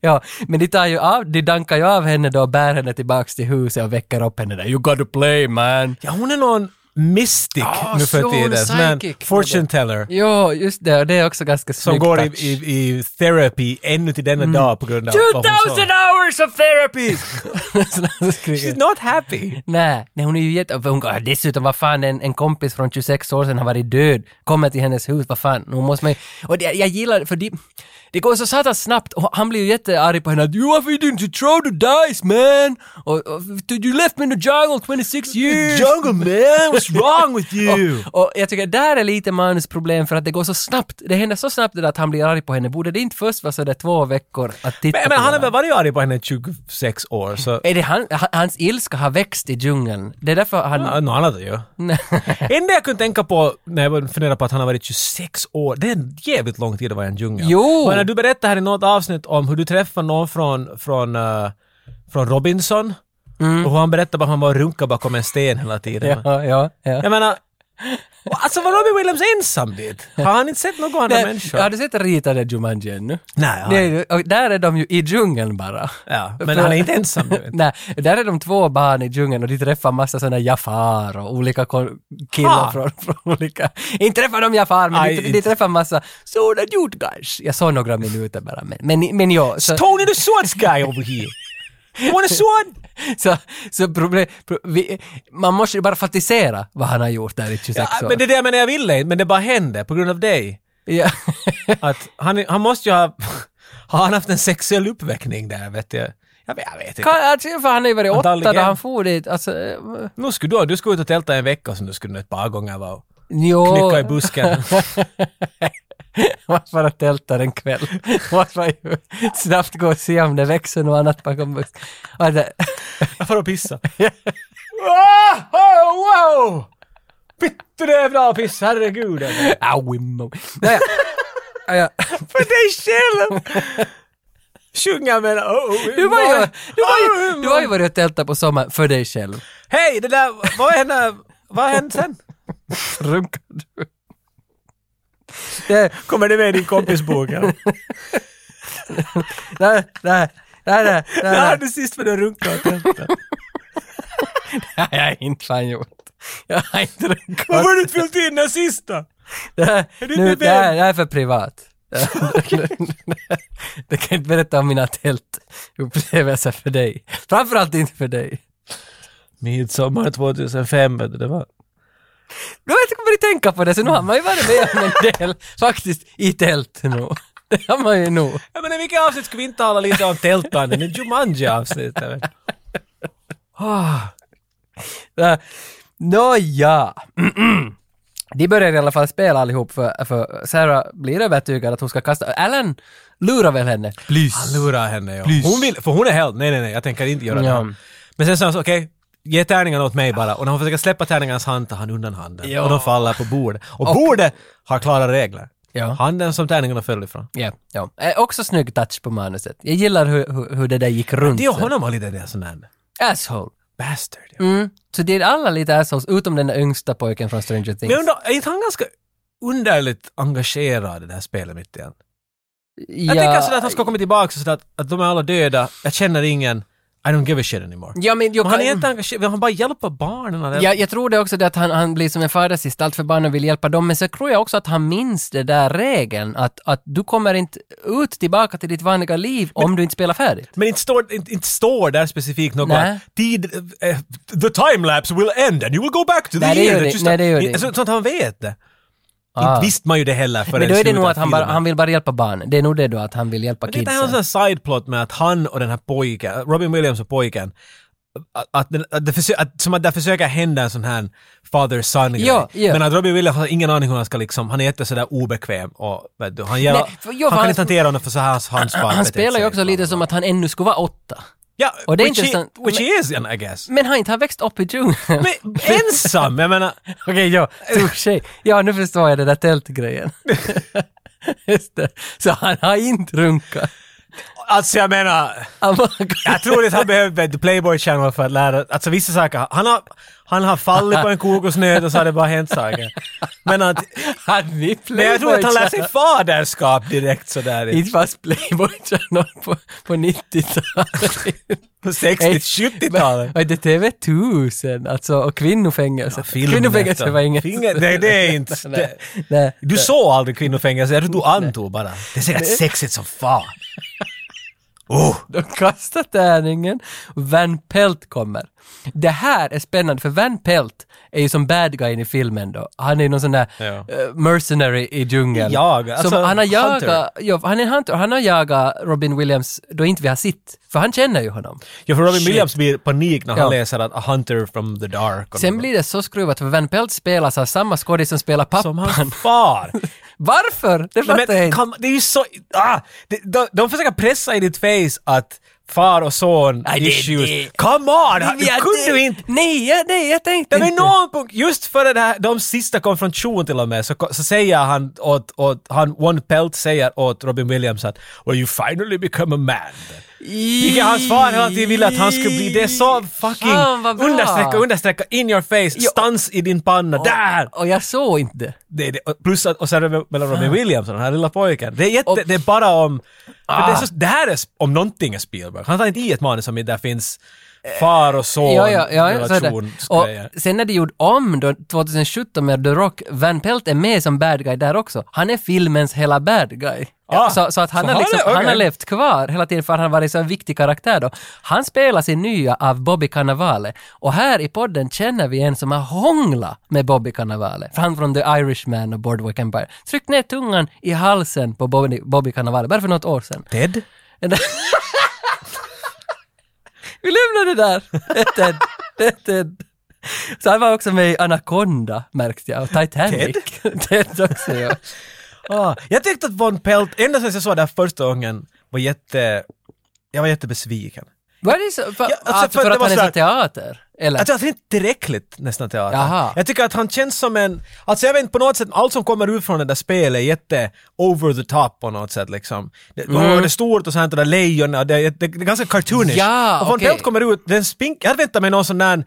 ja, men de tar ju av, de dankar ju av henne då och bär henne tillbaks till huset och väcker upp henne där. You gotta play man!
Ja, hon är någon mystic
Ah,
nu för
så hon är
tiden. Sån här
psychic.
Fortune teller.
Jo, just det, och det är också ganska
Som
snyggt.
går i,
touch. Mm.
i, i therapy ännu till denna dag på grund av vad hon
2000
sa.
hours of therapy! Så skriker
She's
jag.
not happy.
Nej, nej, hon är ju jätte... Hon, går- dessutom, vad fan, en, en kompis från 26 år sedan har varit död, kommer till hennes hus, vad fan, hon måste man ju... Och det, jag gillar det, för det, det går så satans snabbt och han blir ju jättearg på henne att “You have didn't you throw the dice man!” och, och “You left me in the jungle 26 years!”
Jungle man, what's wrong with you?
Och, och jag tycker där är lite manusproblem för att det går så snabbt. Det händer så snabbt det där att han blir arg på henne. Borde det inte först vara sådär två veckor att titta
Men,
på
men han
det
har
där?
väl varit arg på henne i 26 år, så...
Är det han, ha- hans ilska har växt i djungeln? Det är därför han...
Ja, Något annat ju. Enda jag kunde tänka på när jag funderade på att han har varit 26 år, det är en jävligt lång tid att vara i en djungel.
Jo!
Och när du berättade här i något avsnitt om hur du träffade någon från, från, eh, från Robinson, och hur han berättade att han var och runkade bakom en sten hela tiden.
ja, ja, ja.
Jag menar, alltså var Robin Williams ensam dit? Har han inte sett någon annan människa?
Har du sett ritade Jumanji ännu?
Nej,
Det
det,
är, ju- och där är de ju i djungeln bara.
ja, men han är inte ensam. du vet.
Nej, där är de två barn i djungeln och de träffar massa sådana Jafar och olika kon- killar
Ha!
från, från olika... Inte träffar de Jafar, men
Aj,
de, de
inte.
träffar massa sådana dude guys. Jag såg några minuter bara, men, men, men ja. Så,
Tony the Swords guy over here! You want a sword?
så, så problem, pro, vi, man måste ju bara fantisera vad han har gjort där i 26
Ja,
år.
men det är det jag menar, jag ville inte, men det bara hände på grund av dig.
ja.
Att han, han måste ju ha... Har han haft en sexuell uppväckning där, vet jag? Jag vet, jag vet inte.
Kan- alltså, för han är ju varit åtta då
Antagligen.
han for dit. Alltså, eh,
Nu skulle du, ha- du skulle ut och tälta en vecka, så nu skulle du ett par gånger vara och
jo.
knycka i busken.
Man bara tältar en kväll. Man bara ju snabbt gå och se om det växer något annat bakom busken. Och det-
Jag får och pissa. wow! wow, wow. Pyttelövla och piss, herregud.
Au, immo. Naja. Naja.
För dig själv! Sjunga med... Oh, oh,
Du var ju, du var
oh,
ju,
oh.
du var ju varit och tältat på sommaren för dig själv.
Hej, det där... Vad hände? Vad hände sen?
Runkar du? Det,
Kommer det med i din kompisbok? eller?
nej, nej, nej, nej,
När
nej,
hade
nej.
du sist varit och runkat och tältat?
Nej, jag har inte fan gjort. Jag har inte runkat.
Varför har du inte fyllt in den sista?
Det här,
Är du
nu,
inte
det här,
vän?
det här är för privat. det kan jag inte berätta om mina tältupplevelser för dig. Framförallt inte för dig.
Midsommar 2005, vet du, det var...
Nu har jag inte börjat tänka på det, så nu har man ju varit med om en del faktiskt i tält nu. Det har man ju nog.
Ja, men i vilket avsnitt ska vi inte tala lite om tältande? Det är Jumanji-avsnittet.
Äh, Nåja. De börjar i alla fall spela allihop för, för Sarah blir övertygad att hon ska kasta. Alan lurar väl henne?
Han lurar henne, ja. Hon vill, för hon är helt... Nej, nej, nej, jag tänker inte göra
Ja.
det. Men sen sa han så, okej, ge tärningarna åt mig bara. Och när hon försöker släppa tärningarnas hand tar han undan handen.
Ja.
Och de faller på bordet. Och, bordet har klara regler.
Ja.
Handen som tärningarna föll ifrån.
Ja, ja. Äh, Också snygg touch på manuset. Jag gillar hur, hur, hur det där gick runt.
Det och honom har lite det sån här
Asshole.
bastard. ja.
Mm. Så det är alla lite assholes, utom den där yngsta pojken från Stranger
Men jag
Things.
undrar, är inte han ganska underligt engagerad i det här spelet mitt igen?
Ja,
alltså Jag tänker sådär att han ska komma tillbaka och sådär att, att de är alla döda, jag känner ingen, I don't give a shit anymore.
Ja, men jag,
Men han är
kan,
inte engagerad, vill han bara hjälpa barnen? eller?
jag, jag tror det också det att han, han blir som en fadersgestalt för barnen och vill hjälpa dem, men så tror jag också att han minns den där regeln att, att du kommer inte ut tillbaka till ditt vanliga liv om du inte spelar färdigt.
Men inte står, inte, inte står där specifikt något
Nej.
att tid, eh, the time lapse will end and you will go back to the
Nej, det
year.
gör det-
Just
nej, det gör det
Så, så att han vet det.
Ah.
Inte visste man ju det heller förrän
Men då är det
slutet
nog
av
att han, bara,
filmen.
han vill bara hjälpa barnen. Det är nog det då, att han vill hjälpa
Det är en
kidsen.
sån här sideplot med att han och den här pojken, Robin Williams och pojken, att, att, den- att, det försö- att, som att det försöker hända en sån här father-son grej.
Ja, ja.
Men att Robin Williams har ingen aning hur han ska liksom, han är jätte sådär obekväm och vet du, han, gör,
Nej, för- ja, för
han kan
han-
inte hantera honom för så här hans
han, han spelar ju också lite som att han ännu skulle vara åtta.
Ja,
och det är
which, he,
intressant.
which he is, I guess.
Men har inte han växt upp i djungeln?
Men ensam, jag menar,
Okej, ja, touché. Ja, nu förstår jag den där tältgrejen. Just det. Så han har inte runkat.
alltså jag menar,
Han bara-
jag tror inte han behöver vet du, Playboy Channel för att lära, alltså vissa saker, han har, han har fallit på en kokosnöt och så har det bara hänt saker. Men att
Han är
Men jag tror att han lär
Playboy
sig
Channel.
faderskap direkt sådär.
Inte fast Playboy Channel på, på 90-talet.
På
Nej,
60-70-talet.
men- Var det TV1000? Alltså, och kvinnofängelse.
film
kvinnofängelse
nästan.
var inget.
Finger- nej, det är inte-
nej, nej.
Du såg aldrig kvinnofängelse, jag tror du antog bara. Det är säkert sexigt som fan. Oh,
De kastar tärningen och Van Pelt kommer. Det här är spännande för Van Pelt är ju som bad guy i filmen då. Han är ju någon sån där
Ja.
eh, mercenary i djungeln.
Jag, alltså,
som han har
hunter.
jagat, ja, han är en hunter, han har jagat Robin Williams då inte vi har sitt. För han känner ju honom.
ja, för Robin
Shit.
Williams blir panik när han
Ja.
läser att A Hunter from the Dark. och
Sen
något.
blir det så skruvat för Van Pelt spelas av samma skådis som spelar pappan.
Som hans far.
Varför? Det
Nej,
fattar jag
men,
inte.
kan, det är ju så... Ah, de, de, de försöker pressa i ditt face att far och son
Nej, det-
issues.
det-
Come on! Du
Ja,
kunde
det-
du inte
Nej, ja, nej, jag tänkte
Det var
inte.
någon punkt, just före det här, de sista konfrontation till och med, så, så säger han åt, åt han, One Pelt säger åt Robin Williams att “Well you finally become a man”. Vilket hans far hela tiden ville att han skulle bli. Det är så fucking
Fan, vad bra.
understrecka, understrecka, in your face, stans i din panna, där!
Och jag såg inte det.
Det, är det, och plus att, och sen är det mellan Robin Williams och den här lilla pojken. Det är jätte, det är bara om, för det, är så,
Ah.
det här är, sp- om någonting är Spielberg. Han tar inte i ett manus som inte där finns far och son
Ja, ja, ja, så är det. Och
relationsgrejer.
sen när de gjorde om då, 2017 med The Rock, Van Pelt är med som bad guy där också. Han är filmens hela bad guy.
Ah,
så, så att han,
så
har
han
liksom,
är- okej.
han har levt kvar hela tiden för han har varit så en viktig karaktär då. Han spelar sin nya av Bobby Cannavale och här i podden känner vi en som har hånglat med Bobby Cannavale. För Han från The Irishman och Boardwalk Empire. Tryckt ner tungan i halsen på Bobby, Bobby Cannavale bara för något år sedan.
Ted?
Vi lämnar det där. Det är Ted. Det är Ted. Så han var också med i Anaconda, märkte jag, och Titanic. Ted? också, ja.
Ah, jag tyckte att Von Pelt, ända sedan jag såg det här första gången, var jätte... Jag var jättebesviken.
Var det så? För,
Ja, alltså,
alltså,
för
för
det
att
var
han är
så
så
här- Alltså,
teater? Eller?
Jag tycker att han är inte tillräckligt nästan teater.
Jaha.
Jag tycker att han känns som en... Alltså jag vet inte, på något sätt, allt som kommer ut från det där spelet är jätte over the top på något sätt liksom. Det,
Mm.
åh, det är stort och sånt och det är lejon och det, är- det, det är ganska cartoonish.
Ja,
och Von
okej.
Pelt kommer ut, den spink... Jag hade väntat mig någon sån där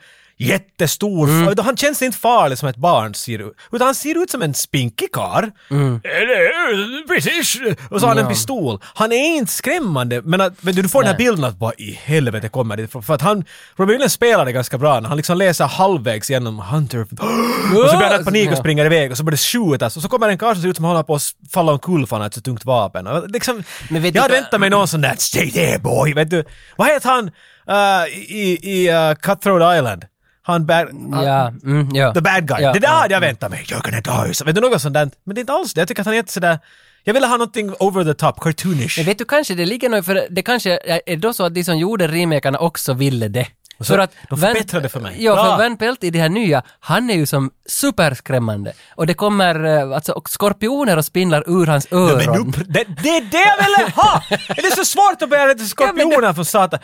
jättestor...
Mm.
Han känns inte farlig som ett barn ser ut. Utan han ser ut som en spinkig karl.
Mm.
Eh, Eller hur? British! Och så har han en pistol. Han är inte skrämmande, men att, men du får den här bilden att bara i helvete kommer det ifrån. För att han, Robin Williams spelar det ganska bra. Han liksom läser halvvägs genom Hunter. Och så blir han i panik och springer iväg och så börjar det skjutas. Och så kommer en karl som ser ut som han håller på att falla omkull för han har ett så tungt vapen. Och Liksom,
Men vet
jag hade
du-
väntat mig någon sån där “Stay there boy”, vet du. Vad heter han eh, i, i eh, Cutthroat Island? Han bär...
ja, mm, ja.
The bad guy.
Ja,
det där
ja.
hade jag väntat mig. You're gonna die. Så, vet du, något sånt där. Men det är inte alls det. Jag tycker att han är inte sådär... Jag ville ha någonting over the top, cartoonish.
Men vet du, kanske det ligger något, för det kanske är är då så att de som gjorde remakerna också ville det.
så-
för att
de
Van-
förbättrade för mig.
Ja,
Bra.
för Van Pelt i det här nya, han är ju som superskrämmande. Och det kommer eh, alltså och skorpioner och spindlar ur hans öron.
Men nu, pr- det, det är det jag ville ha! Är det är så svårt att bära till skorpioner från satan?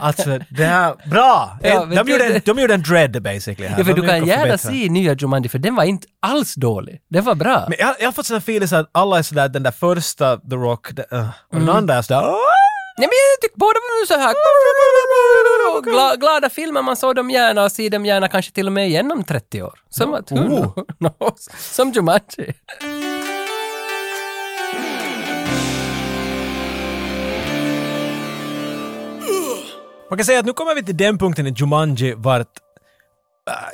Alltså, det här... Bra! Eh,
Ja, men
de,
du-
gjorde en, de gjorde en dread basically här.
Ja, för
De
du kan
lyckades
gärna
förbättra.
se nya Jumanji, för den var inte alls dålig. Den var bra.
Men jag, jag har fått sån här feeling så att alla är sådär, den där första, The Rock, det, eh, och
Mm.
den andra är sådär... "Åh!"
Nej, men jag tycker båda var nu så här Gla, glada filmer, man såg dem gärna och ser dem gärna kanske till och med igen om 30 år. Som att, who
Oh.
knows? Som Jumanji.
Man kan säga att nu kommer vi till den punkten i Jumanji vart... äh,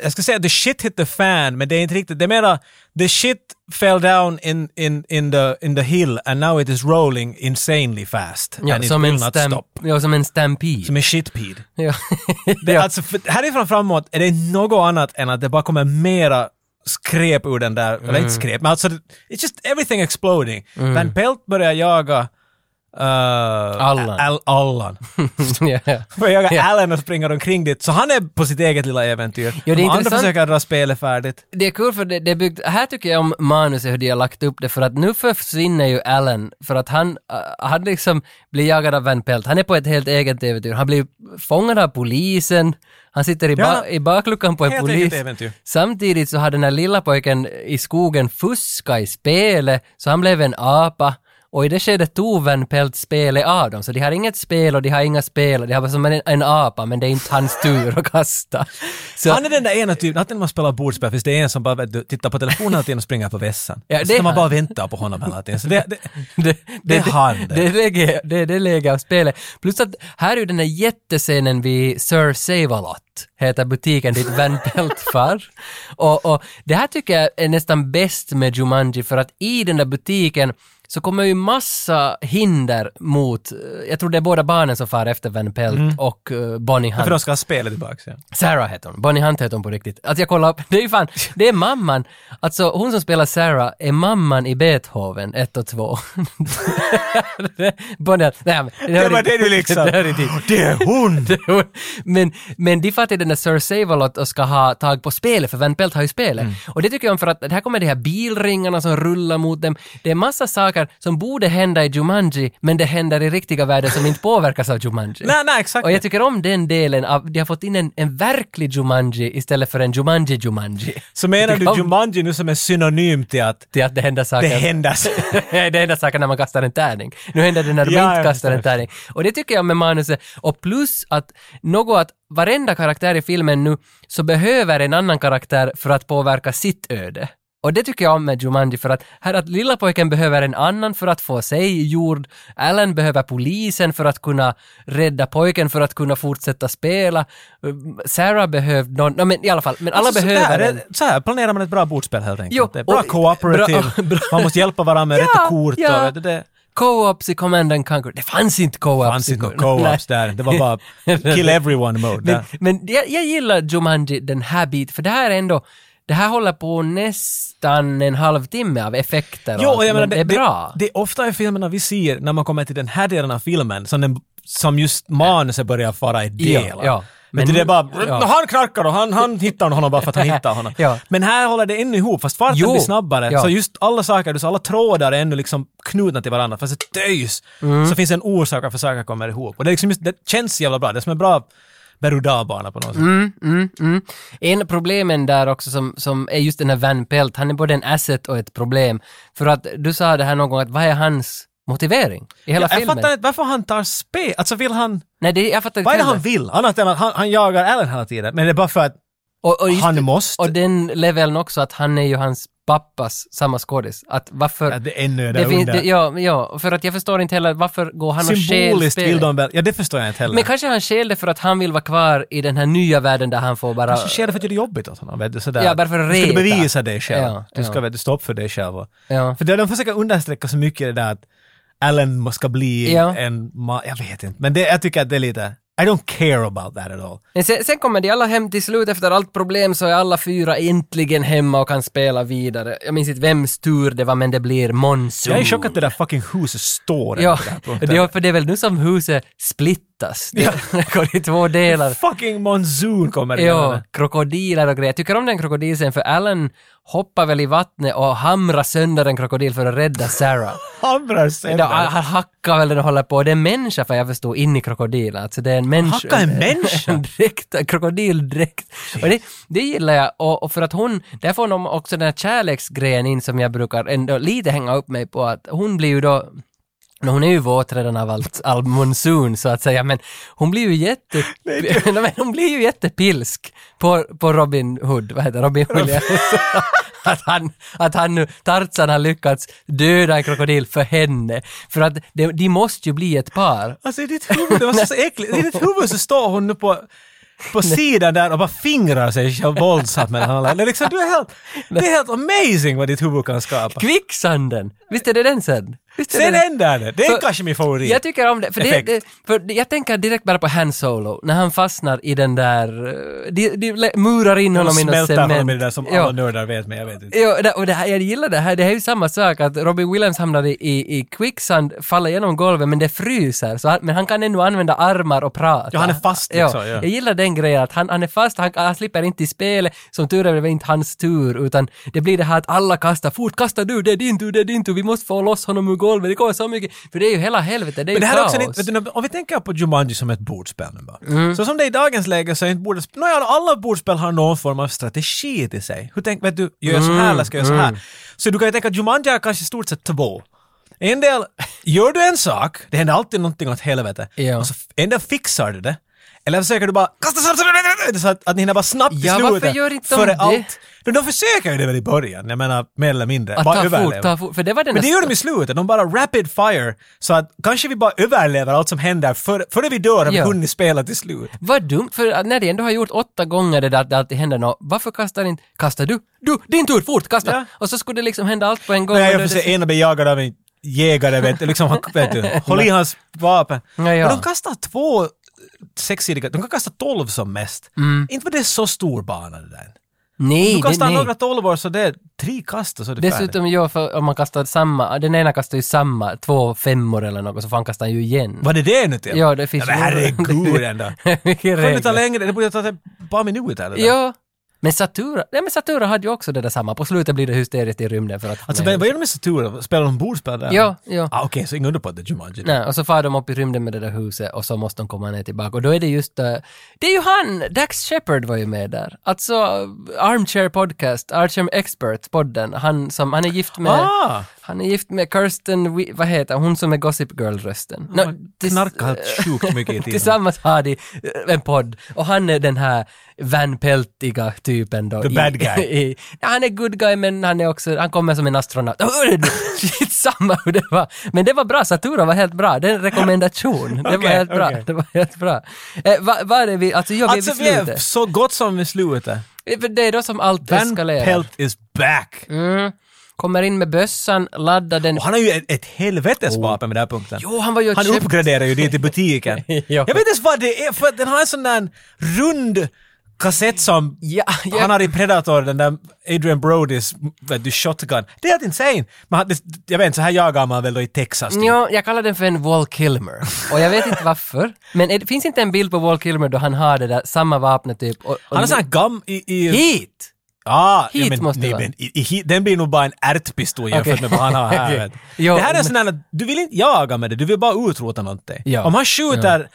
Jag ska säga the shit hit the fan, men det är inte riktigt. Det är mera the shit fell down in, in, in, the, in the hill and now it is rolling insanely fast.
Ja,
and
som
it
en,
will not
stamp,
stop.
ja, som en stampede.
Som en shitpeed.
ja.
Det, alltså, för, härifrån framåt är det något annat än att det bara kommer mera skräp ur den där,
Mm.
eller inte skräp, men alltså det- it's just everything exploding. Van Pelt börjar jaga Uh,
Allan.
Al- Allan.
ja, ja.
Börjar jaga
Ja.
Allan och springer omkring dit. Så han är på sitt eget lilla äventyr.
Ja, det är
De andra
intressant.
försöker dra spelet färdigt.
Det är kul för det, det är byggt, här tycker jag om manuset hur de har lagt upp det för att nu försvinner ju Allen för att han, äh, han liksom blir jagad av Van Pelt. Han är på ett helt eget äventyr. Han blir fångad av polisen, han sitter i, ba-
Ja.
i bakluckan på en
Helt
polis.
eget äventyr.
Samtidigt så har den här lilla pojken i skogen fuskat i spelet så han blev en apa. Och i det skedet tog Van Pelt spelet av dem, så de har inget spel och de har inga spel och de har bara som en, en apa, men det är inte hans tur att kasta. Så-
Han är den där ena typen, alltid när man spelar bordspel finns det en som bara vet du, tittar på telefonen hela tiden och springer på vässan.
Ja, det
så
är
kan man
han.
bara vänta på honom hela tiden. Så det, det,
det,
Det är han,
det. Det
det.
är läge- det, är det läge av spelet. Plus att här är ju den här jättescenen vid Sir Save-A-Lot, heter butiken dit Van Pelt far. Och, och det här tycker jag är nästan bäst med Jumanji för att i den där butiken så kommer ju massa hinder mot, eh, jag tror det är båda barnen som far efter Van Pelt
Mm.
och eh, Bonnie Hunt.
för de ska ha spelet tillbaka. Ja.
Sarah heter hon. Bonnie Hunt heter hon på riktigt. Alltså jag kollar upp, det är ju fan, det är mamman. Alltså hon som spelar Sarah är mamman i Beethoven 1 och 2. Bonnie Hunt, nej men.
Det
hör
var
inte-
det du liksom...
Det hör inte dit.
Det är hon!
Det hon- men, men de fattar den där Sir Save-A-Lot och ska ha tag på spelet, för Van Pelt har ju spelet.
Mm.
Och det tycker jag om för att här kommer de här bilringarna som rullar mot dem. Det är massa saker som borde hända i Jumanji, men det händer i riktiga världen som inte påverkas av Jumanji.
Nej, nej, exakt.
Och jag tycker om den delen av, de har fått in en, en verklig Jumanji istället för en Jumanji-Jumanji.
Så menar
Det kan-
du Jumanji nu som är synonym till att
Till att det händer
det
saker.
händer så-
det händer saker när man kastar en tärning. Nu händer det när de
Ja,
inte
jag
kastar en
förstår.
tärning. Och det tycker jag med manuset. Och plus att något att varenda karaktär i filmen nu så behöver en annan karaktär för att påverka sitt öde. Och det tycker jag om med Jumanji för att här att lilla pojken behöver en annan för att få sig gjord. Alan behöver polisen för att kunna rädda pojken för att kunna fortsätta spela. Sarah behövde någon, no, men i alla fall, men alla
Alltså,
behöver
så, där,
en.
är- så här planerar man ett bra bordspel helt enkelt.
Jo,
det är bra
och-
cooperative,
bra- bra-
man måste hjälpa varandra med rätta kort
ja.
och vet du, det
Co-ops i Command and Conquer. Det fanns inte co-ops.
fanns inte
i-
några co-ops där. Det var bara kill everyone mode.
Men,
där.
men jag, jag gillar Jumanji den här biten, för det här är ändå, det här håller på nästan en halvtimme av effekter och,
Jo,
allt,
och jag menar,
men det är bra.
Det, det är ofta i filmerna vi ser när man kommer till den här delen av filmen som, den, som just manuset börjar fara i delar.
Ja, ja.
Men
Men-
det är bara,
ja.
han knarkar och han, han hittar honom bara för att han hittar honom.
Ja.
Men här håller det ännu ihop, fast farten
Jo.
blir snabbare.
Ja.
Så just alla saker, så alla trådar är ännu liksom knutna till varandra. Fast det töjs,
Mm.
så finns en orsak varför saker kommer ihop. Och det, är liksom just, det känns jävla bra. Det är som en bra berg på något sätt.
Mm, mm, mm. En problemen där också som, som är just den här Van Pelt, han är både en asset och ett problem. För att du sa det här någon gång, att vad är hans motivering i hela
Ja, jag
filmen?
fattar inte varför han tar spel. Alltså vill han...
Nej, det, jag fattar inte
Vad är det
heller.
han vill? Annat än att han, han jagar Allen hela tiden. Men det är bara för att
Och, och just
han måste.
Och den leveln också, att han är ju hans pappas samma skådis. Att varför...
Ja, det är
det
ännu där
finns, det,
under.
ja, ja, för att jag förstår inte heller varför går han och stjäl
Symboliskt vill
spelet?
de väl... Ja, det förstår jag inte heller.
Men kanske han stjäl det för att han vill vara kvar i den här nya världen där han får bara...
Kanske sker det för att göra det jobbigt åt honom. Vet du, sådär.
Ja, bara för att
Du ska
reta.
bevisa dig själv.
Ja,
du ska
ja.
vet du, stå upp för dig själv. Och,
Ja.
För det de försöker understräcka så mycket det där att Allen ska bli
Ja.
en ma- Jag vet inte. Men det, jag tycker att det är lite... I don't care about that at all.
Men sen, sen kommer de alla hem till slut efter allt problem så är alla fyra äntligen hemma och kan spela vidare. Jag minns inte vems tur det var men det blir Monsoon.
Jag är i chock att det där fucking huset står
Ja,
på den här punkten.
det, för det är väl nu som huset splittas. Det går i två delar.
Fucking monsoon kommer det
Ja, krokodiler och grejer. Jag tycker om den krokodilscenen för Alan hoppar väl i vattnet och hamrar sönder en krokodil för att rädda Sarah.
Hamrar
Ja,
sönder.
han hackar väl den och håller på. Och Det är en människa för jag förstår in i krokodilen. Alltså det är en människa.
hackar en människa?
En dräkt, en krokodildräkt. Och det, det gillar jag. Och, och för att hon, där får de också den här kärleksgrejen in som jag brukar ändå lite hänga upp mig på. Att hon blir ju då men hon är ju våt redan av allt, all monsun så att säga, men hon blir ju jätte... Nej, men hon blir ju jättepilsk på, på Robin Hood, vad heter Robin Williams. att han, att han nu, Tarzan har lyckats döda en krokodil för henne. För att de, de måste ju bli ett par.
Alltså i ditt huvud, det var så, så äckligt. I ditt huvud så står hon nu på, på sidan där och bara fingrar sig själv våldsamt med den här Det är liksom, du är helt, det är helt amazing vad ditt huvud kan skapa.
Kvicksanden! Visst är det den sen? Visst är
Sen
den-
ändrar det! Det är
Så-
kanske min favorit.
Jag tycker om det, för, det,
Effekt.
det, för jag tänker direkt bara på Han Solo, när han fastnar i den där, eh, de, de lä- murar in
De
honom i något
smälter
cement.
honom i det där som alla
ja.
nördar vet, men jag vet inte.
Ja, det- och det här, jag gillar det här, det här är ju samma sak att Robin Williams hamnar i, i, i quicksand, faller genom golvet men det fryser, så han, men han kan ännu använda armar och prata.
Ja, han är fast liksom, ja.
Jag gillar den grejen att han, han är fast, han, han slipper inte i spelet, som tur är blev det inte hans tur utan det blir det här att alla kastar, fort kastar du, det är din tur, det är din tur, vi måste få loss honom ur golvet, det går så mycket, för det är ju hela helvetet, det är
Men
ju
det här är
kaos. Mm.
också, en- vet du, om vi tänker på Jumanji som ett bordspel nu bara. Så som det är i dagens läge så är inte bordspel, nåja alla bordspel har någon form av strategi till sig. Hur tänk, vet du, gör jag så här eller ska jag göra
Mm,
så här? Så du kan ju tänka att Jumanji är kanske i stort sett två. En del, gör du en sak, det händer alltid någonting åt helvete.
Ja.
Och så f- en del fixar du det. Eller försöker du bara kasta så att, att ni hinner bara snabbt i
Ja,
slutet.
varför gör inte de
före
det?
allt. De, de försöker ju det väl i början, jag menar mer eller mindre.
att
Bara
ta fort,
överleva.
ta fort, för det var den
Men det
där-
gör de i slutet, de bara rapid fire. Så att kanske vi bara överlever allt som händer för, före vi dör har vi
Ja.
hunnit spela till slut.
Vad dumt, för när de ändå har gjort åtta gånger det där att det alltid händer något, varför kastar inte, kastar du, du, din tur, fort, kasta!
Ja.
Och så skulle det liksom hända allt på en gång.
Nej,
och
jag
då
får
är det
se ena blir jagad av en jägare, vet du. Liksom, han, vet du håll i hans vapen.
Ja, ja.
Men de kastar två sexsidiga, de kan kasta tolv som mest. Inte var det så stor bana det där.
så- Mm. nej,
Du kastar
det, nej.
några tolvor så det är tre kast och så är det färdigt.
Dessutom, ja, för om man kastar samma, den ena kastar ju samma, två femmor eller något, så får han kasta ju igen.
Var det det nu till?
Ja, det finns
men
ju-
herregud ändå.
Vilken
Kunde det ta
regel.
längre? Det borde ta ett par minuter. eller?
Ja. Men Satura, nej men Satura hade ju också det där samma, på slutet blir det hysteriskt i rymden för att...
Alltså,
nej.
vad vad gör de med Satura? Spelar de bordspel där?
Ja, ja.
Ah, Okej, så ingen under på att det är Jumanji.
Nej, och så far de upp i rymden med det där huset och så måste de komma ner tillbaka. Och då är det just... eh, det är ju han! Dax Shepard var ju med där. Alltså, eh, Armchair Podcast, Armchair Expert-podden. Han, som, han är gift med...
Ah!
Han är gift med Kirsten... Wi- Vad heter hon som är Gossip Girl-rösten? Nå, tis-
Knarkar helt sjukt mycket i tiden.
Tillsammans har de eh, en podd och han är den här Van Peltiga typen då.
The
i-
bad guy.
I, Ja, han är good guy men han är också, han kommer som en astronaut. Hörru du, Shit, samma hur det var. Men det var bra, Satura var helt bra. Det är en rekommendation. Det var
Okej,
helt bra.
okej.
Det var helt bra. Eh, vad vad är det vi, alltså gör vi
Alltså
alltså,
vi är
slutet? Eh,
så gott som i slutet.
För Det är då som allt
Van
eskalerar. Mm.
Pelt is back!
kommer in med bössan, laddar den.
Och han har ju ett, ett helvetes vapen vid den här punkten.
Oh. Jo, han var ju
han
köpt-
uppgraderar ju dit i butiken.
Ja.
Jag vet inte ens vad det är, för att den har en sån där rund kassett som
Ja, ja.
han har i Predator, den där Adrian Brodys vet du, shotgun. Det är helt insane! Men han, det, jag vet inte, så här jagar man väl då i Texas? typ.
Ja, jag kallar den för en Wall Kilmer. Och jag vet inte varför. Men är, det- finns inte en bild på Wall Kilmer då han har det där samma vapnet typ? Och, och
Han har sån här gam i... i
Hit!
Ah,
Hit
ja, men,
måste det
nej,
vara.
men, i, i, hit- Den blir nog bara en ärtpistol jämfört
Okej.
med vad han har här.
Okej.
vet.
Jo,
det här är
men-
en sån här, att du vill inte jaga med det, du vill bara utrota någonting.
Ja.
Om han skjuter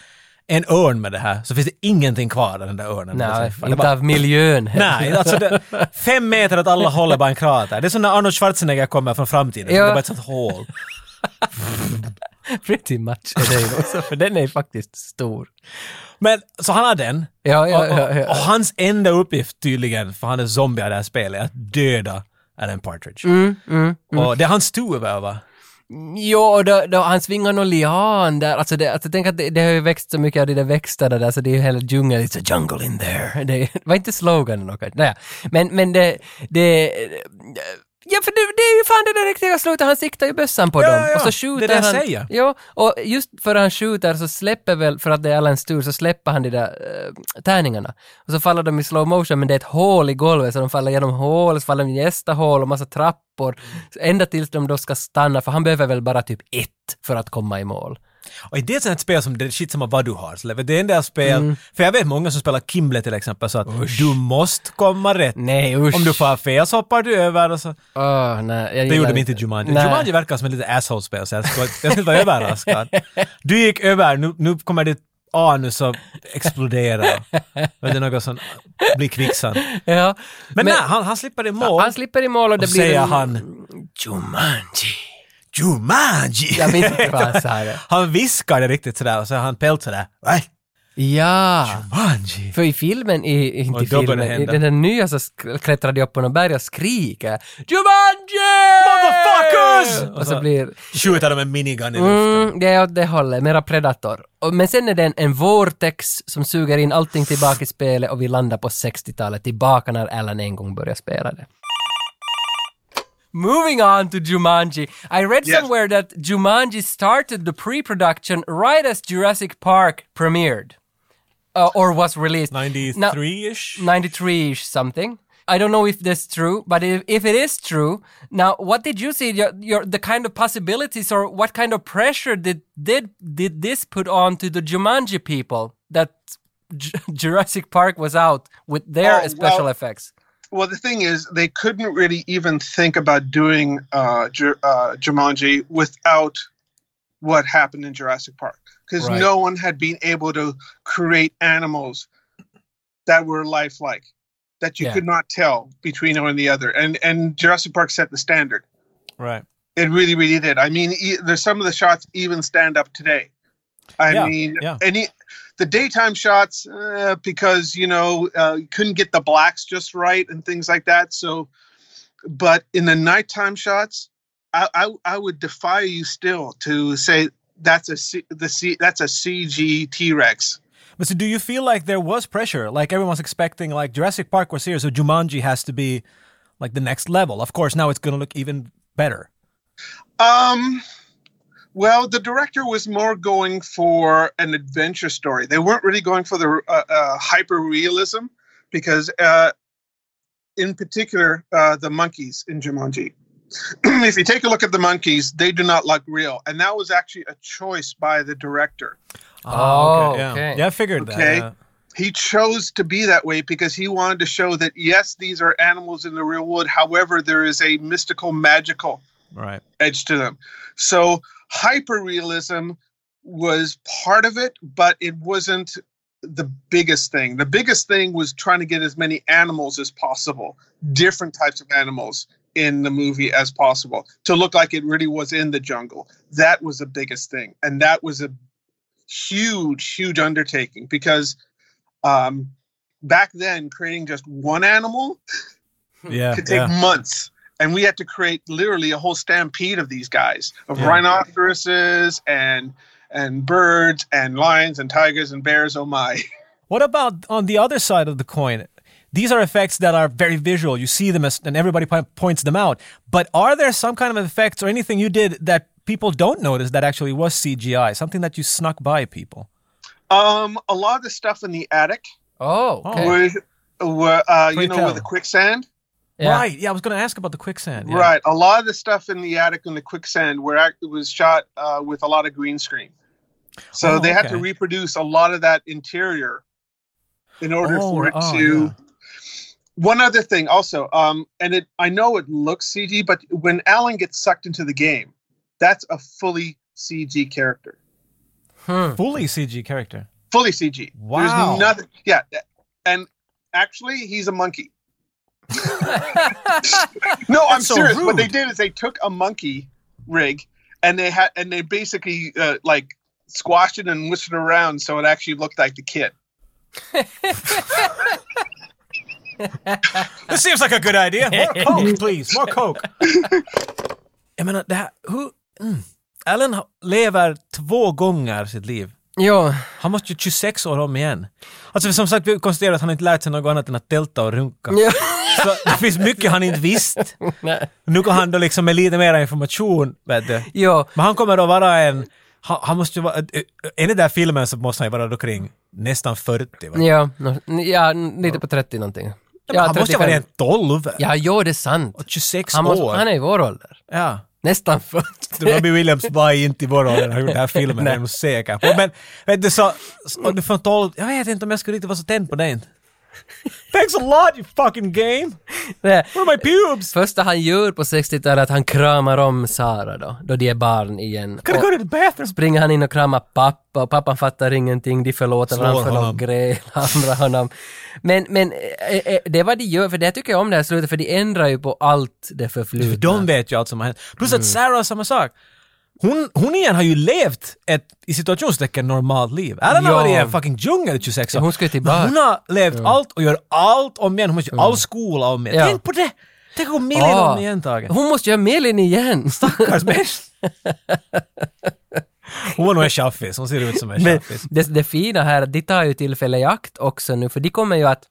en örn med det här så finns det ingenting kvar av den där örnen. Det är
Nej,
så- det är
inte
bara,
av miljön heller.
nej alltså det, fem meter åt alla håll är bara en krater. Det är som när Arnold Schwarzenegger kommer från framtiden,
Ja.
det är bara ett sånt hål.
Pretty much är det ju också, för den är ju faktiskt stor.
Men, så han har den.
Ja, ja,
och, och,
ja, ja.
och hans enda uppgift tydligen, för han är zombie i det här spelet, är att döda Alan Partridge.
Mm,
Och det är hans tur över va?
Jo, och då, då, han svingar någon lian där. Alltså, det, alltså tänk att det, det har ju växt så mycket av de där växterna där, så det är ju hela djungeln. It's a jungle in there. Det var inte sloganen och Nej, men, men det, det... Ja, för det, det är ju fan det där riktiga slutet. Han siktar ju bössan på
Ja,
dem.
ja, ja.
Och så
Det
skjuter
är det jag
han...
säger.
Ja, och just för han skjuter så släpper väl, för att det är Allans tur, så släpper han de där eh, tärningarna. Och så faller de i slow motion, men det är ett hål i golvet, så de faller genom hål, så faller de i nästa hål och massa trappor. Så Ända tills de då ska stanna, för han behöver väl bara typ ett för att komma i mål.
Och det är ett sånt här spel som det är shit samma vad du har. Så Det är en del spel,
Mm.
för jag vet många som spelar Kimble till exempel, så att du måste komma rätt.
Nej, usch.
Om du får fel så hoppar du över och så.
Åh, nej, jag
Ah, Det gjorde
gillar
de inte i Jumanji.
Nej.
Jumanji verkar som ett litet asshole-spel, så jag skulle, jag skulle vara överraskad. Du gick över, nu, nu kommer ditt anus att explodera. Vet du, något sånt, blir kvicksand. Men,
Ja, men,
nej, han, han slipper i mål.
han slipper i mål och det
och
blir...
säger
en-
han
Jumanji.
Jumanji!
Jag minns inte vad han sa det.
Han viskar det riktigt sådär och så har han pält sådär. "Va?
Ja!
Manji!
För i filmen, i, i- inte i
Och dubben
filmen, i
händer.
den där nya så sk- klättrar de upp på någon berg och skriker Jumanji!
Motherfuckers!
Och så blir...
Skjuter de en minigun i luften.
Mm, det är åt det hållet, mera Predator. Och, men sen är det en, en vortex som suger in allting tillbaka i spelet och vi landar på 60-talet, tillbaka när Alan en gång började spela det. Moving on to Jumanji. I read
Yes.
somewhere that Jumanji started the pre-production right as Jurassic Park premiered. Uh, or was released.
93-ish?
93-ish something. I don't know if that's true, but if, if it is true, now what did you see? Your, your the kind of possibilities or what kind of pressure did did did this put on to the Jumanji people that Ju- Jurassic Park was out with their
Oh,
special
well-
effects?
Well, the thing is, they couldn't really even think about doing uh, Ju- uh, Jumanji without what happened in Jurassic Park, because
Right.
no one had been able to create animals that were lifelike, that you
Yeah.
could not tell between one and the other. And and Jurassic Park set the standard.
Right.
It really, really did. I mean, e- there's some of the shots even stand up today. I
Yeah,
mean,
yeah.
any the daytime shots uh, because you know uh, you couldn't get the blacks just right and things like that. So, but in the nighttime shots, I I, I would defy you still to say that's a C, the C, that's a CG T Rex.
But so do you feel like there was pressure? Like everyone's expecting, like Jurassic Park was here, so Jumanji has to be like the next level. Of course, now it's going to look even better.
Um, well, the director was more going for an adventure story. They weren't really going for the uh, uh, hyper realism because, uh, in particular, uh, the monkeys in Jumanji. if you take a look at the monkeys, they do not look real, and that was actually a choice by the director.
Oh,
Ah, yeah.
okay.
Yeah, I figured
Okay.
that. yeah.
He chose to be that way because he wanted to show that yes, these are animals in the real world. However, there is a mystical, magical
Right.
edge to them. So hyperrealism was part of it, but it wasn't the biggest thing. The biggest thing was trying to get as many animals as possible, different types of animals in the movie as possible to look like it really was in the jungle. That was the biggest thing. And that was a huge, huge undertaking because um, back then, creating just one animal
Yeah.
could take
yeah.
months. And we had to create literally a whole stampede of these guys, of
Yeah.
rhinoceroses and and birds and lions and tigers and bears. Oh my!
What about on the other side of the coin? These are effects that are very visual. You see them as, and everybody po- points them out. But are there some kind of effects or anything you did that people don't notice that actually was CGI? Something that you snuck by people?
Um, a lot of the stuff in the attic
Oh, okay.
Oh.
was, were uh, you
Pray
know,
tell.
with the quicksand.
Yeah.
Right. Yeah, I was going to ask about the quicksand. yeah.
Right. A lot of the stuff in the attic and the quicksand were act- was shot uh, with a lot of green screen. So
Oh,
they had to
okay.
reproduce a lot of that interior in order
Oh,
for it
oh,
to.
yeah.
One other thing, also, um, and it I know it looks CG, but when Alan gets sucked into the game, that's a fully CG character,
Hmm.
Fully CG character.
fully CG.
Wow.
There's nothing. Yeah, and actually, he's a monkey. No, I'm
That's so
serious. What
rude.
they did is they took a monkey rig and they had and they basically uh, like squashed it and whisked it around so it actually looked like the kid.
This seems like a good idea. More coke, please. More coke. Jag menar, det här... Who, mm. Alan ha- lever två gånger sitt liv.
Jo,
Han måste ju 26 år om igen. Alltså som sagt, vi konstaterar att han inte lärt sig något annat än att tälta och runka.
Ja.
Så det finns mycket han inte visst.
nej.
Nu går han då liksom med lite mer information, vet du.
jo.
Men han kommer att vara en... Han, han måste ju vara... I den där filmen så måste han ju vara då kring nästan 40, va?
Ja, no, ja, n- lite på 30 någonting. Ja,
han måste ju
35.
vara rent 12.
Ja, jo, det är sant.
Och 26
Han, måste,
år.
han är i vår ålder.
Ja.
Nästan 40.
Du, Robbie Williams var inte i vår ålder när han gjorde den här filmen, det är jag nog säker på. Men vet du så, så du från 12, jag vet inte om jag skulle riktigt vara så tänd på den. Thanks a lot you fucking game!
Nej.
What are my pubes?
Första han gör på 60-talet är att han kramar om Sara då, då de är barn igen.
Can I
Och
go to the bathroom?
springer han in och kramar pappa och pappan fattar ingenting, de förlåter
Slår
varandra för
honom.
de grälar honom. Men, men eh, eh, det är vad de gör, för det tycker jag om det här slutet, för de ändrar ju på allt det förflutna. Mm.
För de vet ju allt som har hänt. Plus att Sarah har samma sak. Hon, hon igen har ju levt ett, i situationstecken, normalt liv. Alan har
Ja.
varit i en fucking djungel i 26 år.
Ja, hon ska ju tillbaka.
Men Hon har levt allt och gör allt om igen. Hon måste göra all skola om igen.
Ja.
Tänk på det! Tänk om Millie
Ah.
om igen, Tage.
Hon måste göra Melin igen!
Stackars människa. Hon var nog en tjaffis. Hon ser ut som en
Men
tjaffis.
det, det fina här, är att de tar ju tillfälle i akt också nu, för de kommer ju att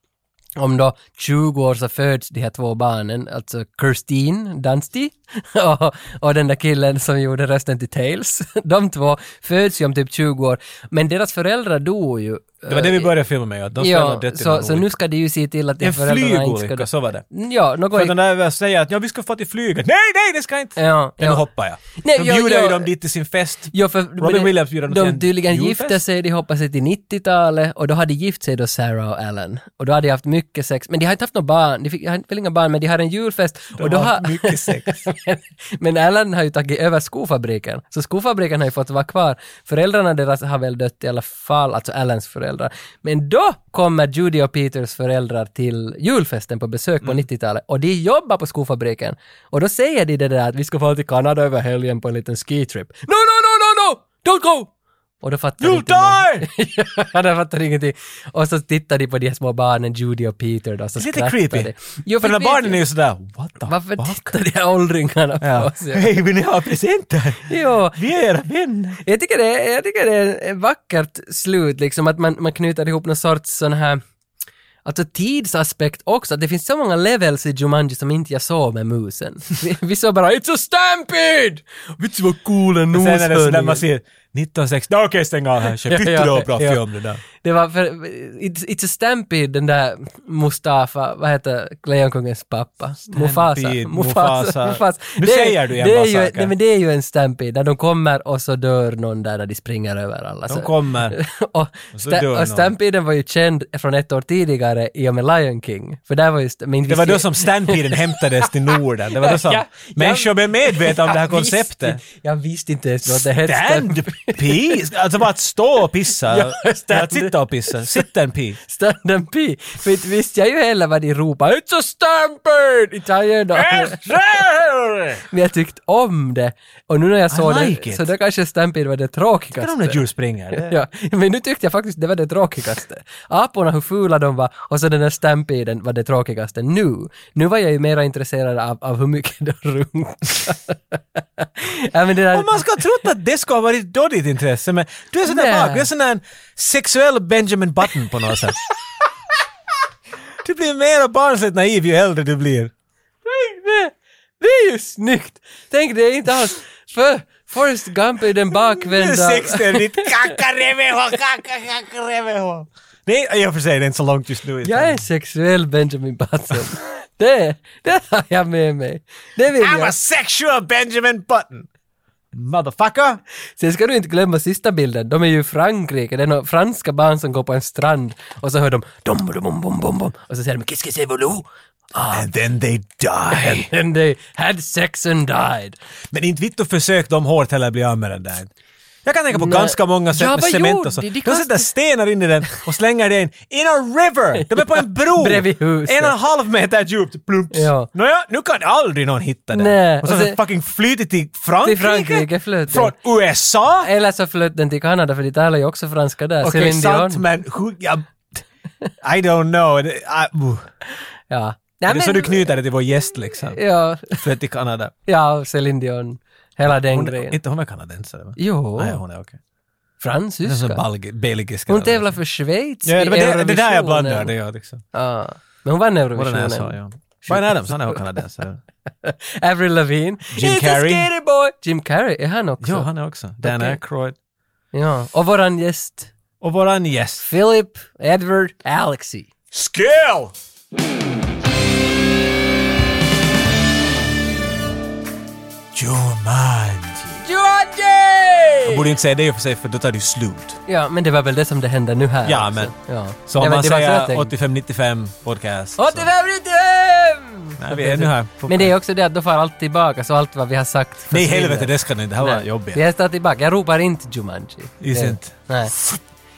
om då 20 år så föds de här två barnen, alltså Kirstin Dunsti och, och den där killen som gjorde rösten till Tails. De två föds ju om typ 20 år, men deras föräldrar dog ju.
Det var det vi började filma med. att De
Ja,
ja, dött i
så,
någon
så nu
olycka.
ska de ju se till att de
En
föräldrarna inte ska dö.
flygolycka, så var det.
Ja, något...
För den där väl säger att ja, vi ska få till flyget. Nej, nej, det ska inte!
Ja,
Men
ja.
nu hoppar jag.
Nej,
de
jag-
bjuder ju
jag-
dem dit till sin fest.
Ja, för,
Robin Williams bjöd dem
De
till en
tydligen
julfest.
gifte sig, de hoppade sig till 90-talet och då hade de gift sig då Sarah och Alan. Och då hade de haft mycket sex, men de har inte haft några barn, de fick, har inte- väl inga barn, men de har en julfest. och då
har haft mycket sex.
men, men Alan har ju tagit över skofabriken, så skofabriken har ju fått vara kvar. Föräldrarna deras har väl dött i alla fall, alltså Alans föräldrar. Men då kommer Judy och Peters föräldrar till julfesten på besök
Mm.
på 90-talet och de jobbar på skofabriken. Och då säger de det där att vi ska få till Kanada över helgen på en liten skitrip. No, no, no, no, no! Don't go! Och då fattar
You'll
inte någon-
die!
ja, de fattar ingenting. Och så tittar de på de här små barnen, Judy och Peter då, så
Lite
skrattar
creepy.
de. Jo,
För
vi
den där
vet
barnen
ju-
är ju sådär, what the
varför
fuck?
tittar de här åldringarna på
Ja.
oss?
Hej, vill ni ha presenter?
Jo,
Vi är era vänner.
jag tycker det, jag tycker det är ett vackert slut, liksom att man, man knyter ihop någon sorts sån här Alltså tidsaspekt också, att det finns så många levels i Jumanji som inte jag såg med musen. Vi, vi såg bara “It's a stampede!” Vet du vad cool en
Sen är det sådär
noshörning
man ser 1960, okej stäng av här,
Ja,
kör
ja,
ytterligare bra
ja.
film det där.
Det var för, it's, it's a stampede, den där Mustafa, vad heter Lejonkungens pappa? Mufasa.
Mufasa.
Mufasa.
Nu
Det är-
säger du igen
det är
bara
ju,
saker.
nej, men Det är ju en stampede, där de kommer och så dör någon där när de springer över alla.
De
Så-
kommer.
och,
så dör
sta-
någon.
och stampeden var ju känd från ett år tidigare i och med Lion King. För där var just, men
Det var då som Stampeden hämtades till Norden. Det var då som
Ja, ja.
människor blev medvetna om det här
Jag visste-
konceptet.
Jag visste inte ens vad det hette.
Stand-pee! Alltså bara att stå och pissa.
Ja, stand-
Eller att sitta och pissa. Sitta en pee.
Stand and pee. För inte visste jag ju heller vad de ropade. It's a stampede! Inte har jag ju någon- Men jag tyckte om det. Och nu när jag såg
like
det,
it.
så då kanske Stampede var det
Kan de när
tråkigaste.
djur springer? Det-
Ja, men nu tyckte jag faktiskt det var det tråkigaste. Aporna, hur fula de var, och så den där stampeden var det tråkigaste nu. Nu var jag ju mera intresserad av, av hur mycket de runkade. ja, men det där...
Om man ska ha trott att det ska ha varit då ditt intresse, men du är sån där
Nej.
vag. Du är sån där en sexuell Benjamin Button på något sätt. Du blir mer och barnsligt naiv ju äldre du blir.
Det, det är ju snyggt! Tänk, det är inte alls... För Forrest Gump är den
Du är
bakvända...
60 ditt kakareveho, kakareveho. Nej, i och för sig, det är inte så långt just nu.
Jag är sexuell Benjamin Button. Det, det har jag med mig. Det vill
I'm a
jag.
sexual Benjamin Button. Motherfucker!
Sen ska du inte glömma sista bilden. De är ju i Frankrike. Det är några franska barn som går på en strand och så hör de dom dom bom bom bom bom och så säger de Qu'est-ce que c'est volo? Ah,
And then they die.
And they had sex and died.
Men inte vitt och försök de hårt heller bli av med den där. Jag kan tänka på
Nej.
ganska många sätt
Ja,
med
vad
cement
gjorde
och så.
de? De
De
kastade-
sätter stenar in i den och slänger den in a river! De är på en bro!
Bredvid huset.
En och en halv meter djupt, plumps!
Ja.
Nåja, nu kan aldrig någon hitta den.
Nej,
Och så
och
har
sen-
den fucking flytit till Frankrike?
Till Frankrike flöt den.
Från USA?
Eller så flöt den till Kanada för de talar ju också franska där.
Okej,
Céline Dion.
sant men... Who, ja, I don't know. Det- I, uh.
Ja.
Det
Nej,
är så
men-
du knyter det till vår gäst liksom.
Ja,
Flöt till Kanada.
ja Céline Dion. Hela den
Hon,
grejen.
inte hon är kanadensare va?
Jo,
Nej, hon är okej. Det är
fransyska.
som belgiska.
Hon tävlar för Schweiz
Ja,
i
det, var det, det där jag
Eurovisionen.
blandar det. Ja, liksom.
Ja. Men hon vann
Vad den här sa,
Eurovisionen.
ja. Brian Adams, han är också kanadensare.
Avril Lavigne.
Jim
It's a
Carrey.
Scary boy. Jim Carrey, är han också?
Ja, han är också. Dan
Okej.
Aykroyd.
Ja. Och våran gäst,
Och våran gäst.
Philip Edward Alexi.
Skål! Jumanji. Jag
Georgie!
borde inte säga det i och för sig, för då tar det ju slut.
Ja, men det var väl det som det hände nu här
Ja,
också.
men-
Ja. Det
Så om
var-
man
det var så
säger
jag tänkte.
85-95 podcast.
85
Så,
rätt!
nej, vi är ännu här.
Men det är också det att då far allt tillbaka, så allt vad vi har sagt
Nej,
försvinner.
helvete, det ska ni inte. Det här var
Nej.
jobbigt.
Jag står tillbaka. Jag ropar inte Jumanji.
Just
Det-
inte.
Nej.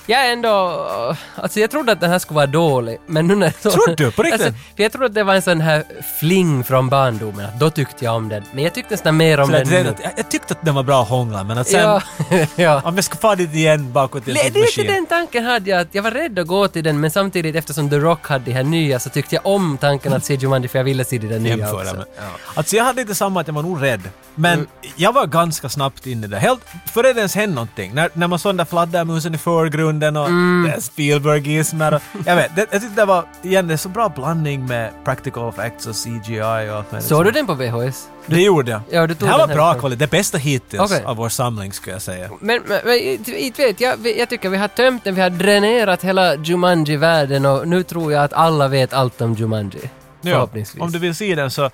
Jag är ändå... Alltså jag trodde att den här skulle vara dålig, men nu när... jag såg
Trodde
den-
du? På riktigt?
Alltså, för jag trodde att det var en sån här fling från barndomen, att då tyckte jag om den. Men jag tyckte nästan mer om
Så
den
det,
nu.
det, jag, jag tyckte att den var bra att hångla, men att sen...
Ja, ja.
Om jag ska få dit igen bakåt i en
Li-
sån
Lite
maskin.
den tanken hade jag, att jag var rädd att gå till den, men samtidigt eftersom The Rock hade det här nya så tyckte jag om tanken att se Jumanji för jag ville se Mm. det där nya
jämföra
också.
med. Alltså jag hade lite samma att jag var nog rädd. Men jag var ganska snabbt inne där. Helt före det ens hände någonting. När, när man såg den där fladdermusen i förgrunden och
Mm.
det här Spielbergismer. Och, jag vet, det, jag tyckte det var igen, det är så bra blandning med practical effects och CGI och allt med det.
Såg du den på VHS?
Det gjorde jag.
Ja, du tog
det här
den
var
här
bra
från-
kvalitet. Det bästa hittills
Okej.
av vår samling skulle jag säga.
Men, men, men inte inte vet jag, Vi- jag tycker vi har tömt den, vi har dränerat hela Jumanji-världen och nu tror jag att alla vet allt om Jumanji. Förhoppningsvis.
om du vill se den så...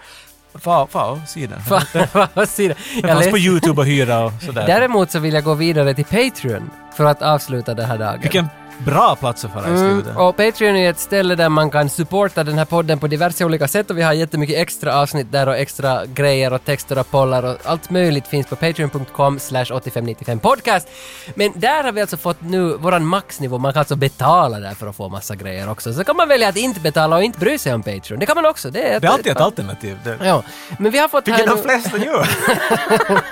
Fa, fa, se den.
Fan, vad säger du?
Den
Jag
fanns på
läste-
YouTube och hyra och sådär.
Däremot så vill jag gå vidare till Patreon för att avsluta den här dagen.
Vilken bra plats att föra i
Mm,
slutet.
och Patreon är ett ställe där man kan supporta den här podden på diverse olika sätt och vi har jättemycket extra avsnitt där och extra grejer och texter och pollar och allt möjligt finns på patreon.com slash 8595podcast. Men där har vi alltså fått nu våran maxnivå, man kan alltså betala där för att få massa grejer också. Så kan man välja att inte betala och inte bry sig om Patreon, det kan man också. Det är,
Det är alltid ett alternativ. Det,
Ja, men vi har fått
Vilket
här
de flesta gör.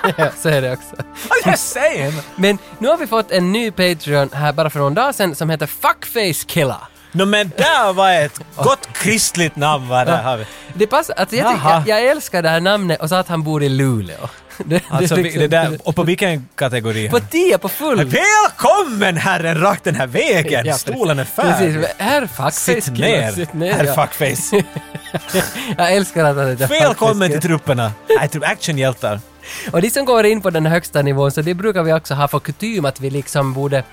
nu... ja, så är det också.
I'm just saying!
Men nu har vi fått en ny Patreon här bara för någon dag sedan som heter Fuckface Killer.
No, men där var ett gott kristligt namn vad det har vi.
Det passar, alltså jag, tycker,
Jaha.
jag, jag älskar det här namnet och så att han bor i Luleå. Det- Det, är
Alltså, vi-
liksom-
det där, och på vilken kategori?
På tio, på full!
Välkommen herren rakt den här vägen!
Ja,
Stolen är
Precis,
färdig.
herr fuckface
Sitt
killer,
ner,
sitt
herr
ja.
fuckface.
Jag älskar att han heter fuckface
Välkommen
killer.
till trupperna. Nej, typ actionhjältar.
Och de som går in på den högsta nivån, så det brukar vi också ha för kutym att vi liksom borde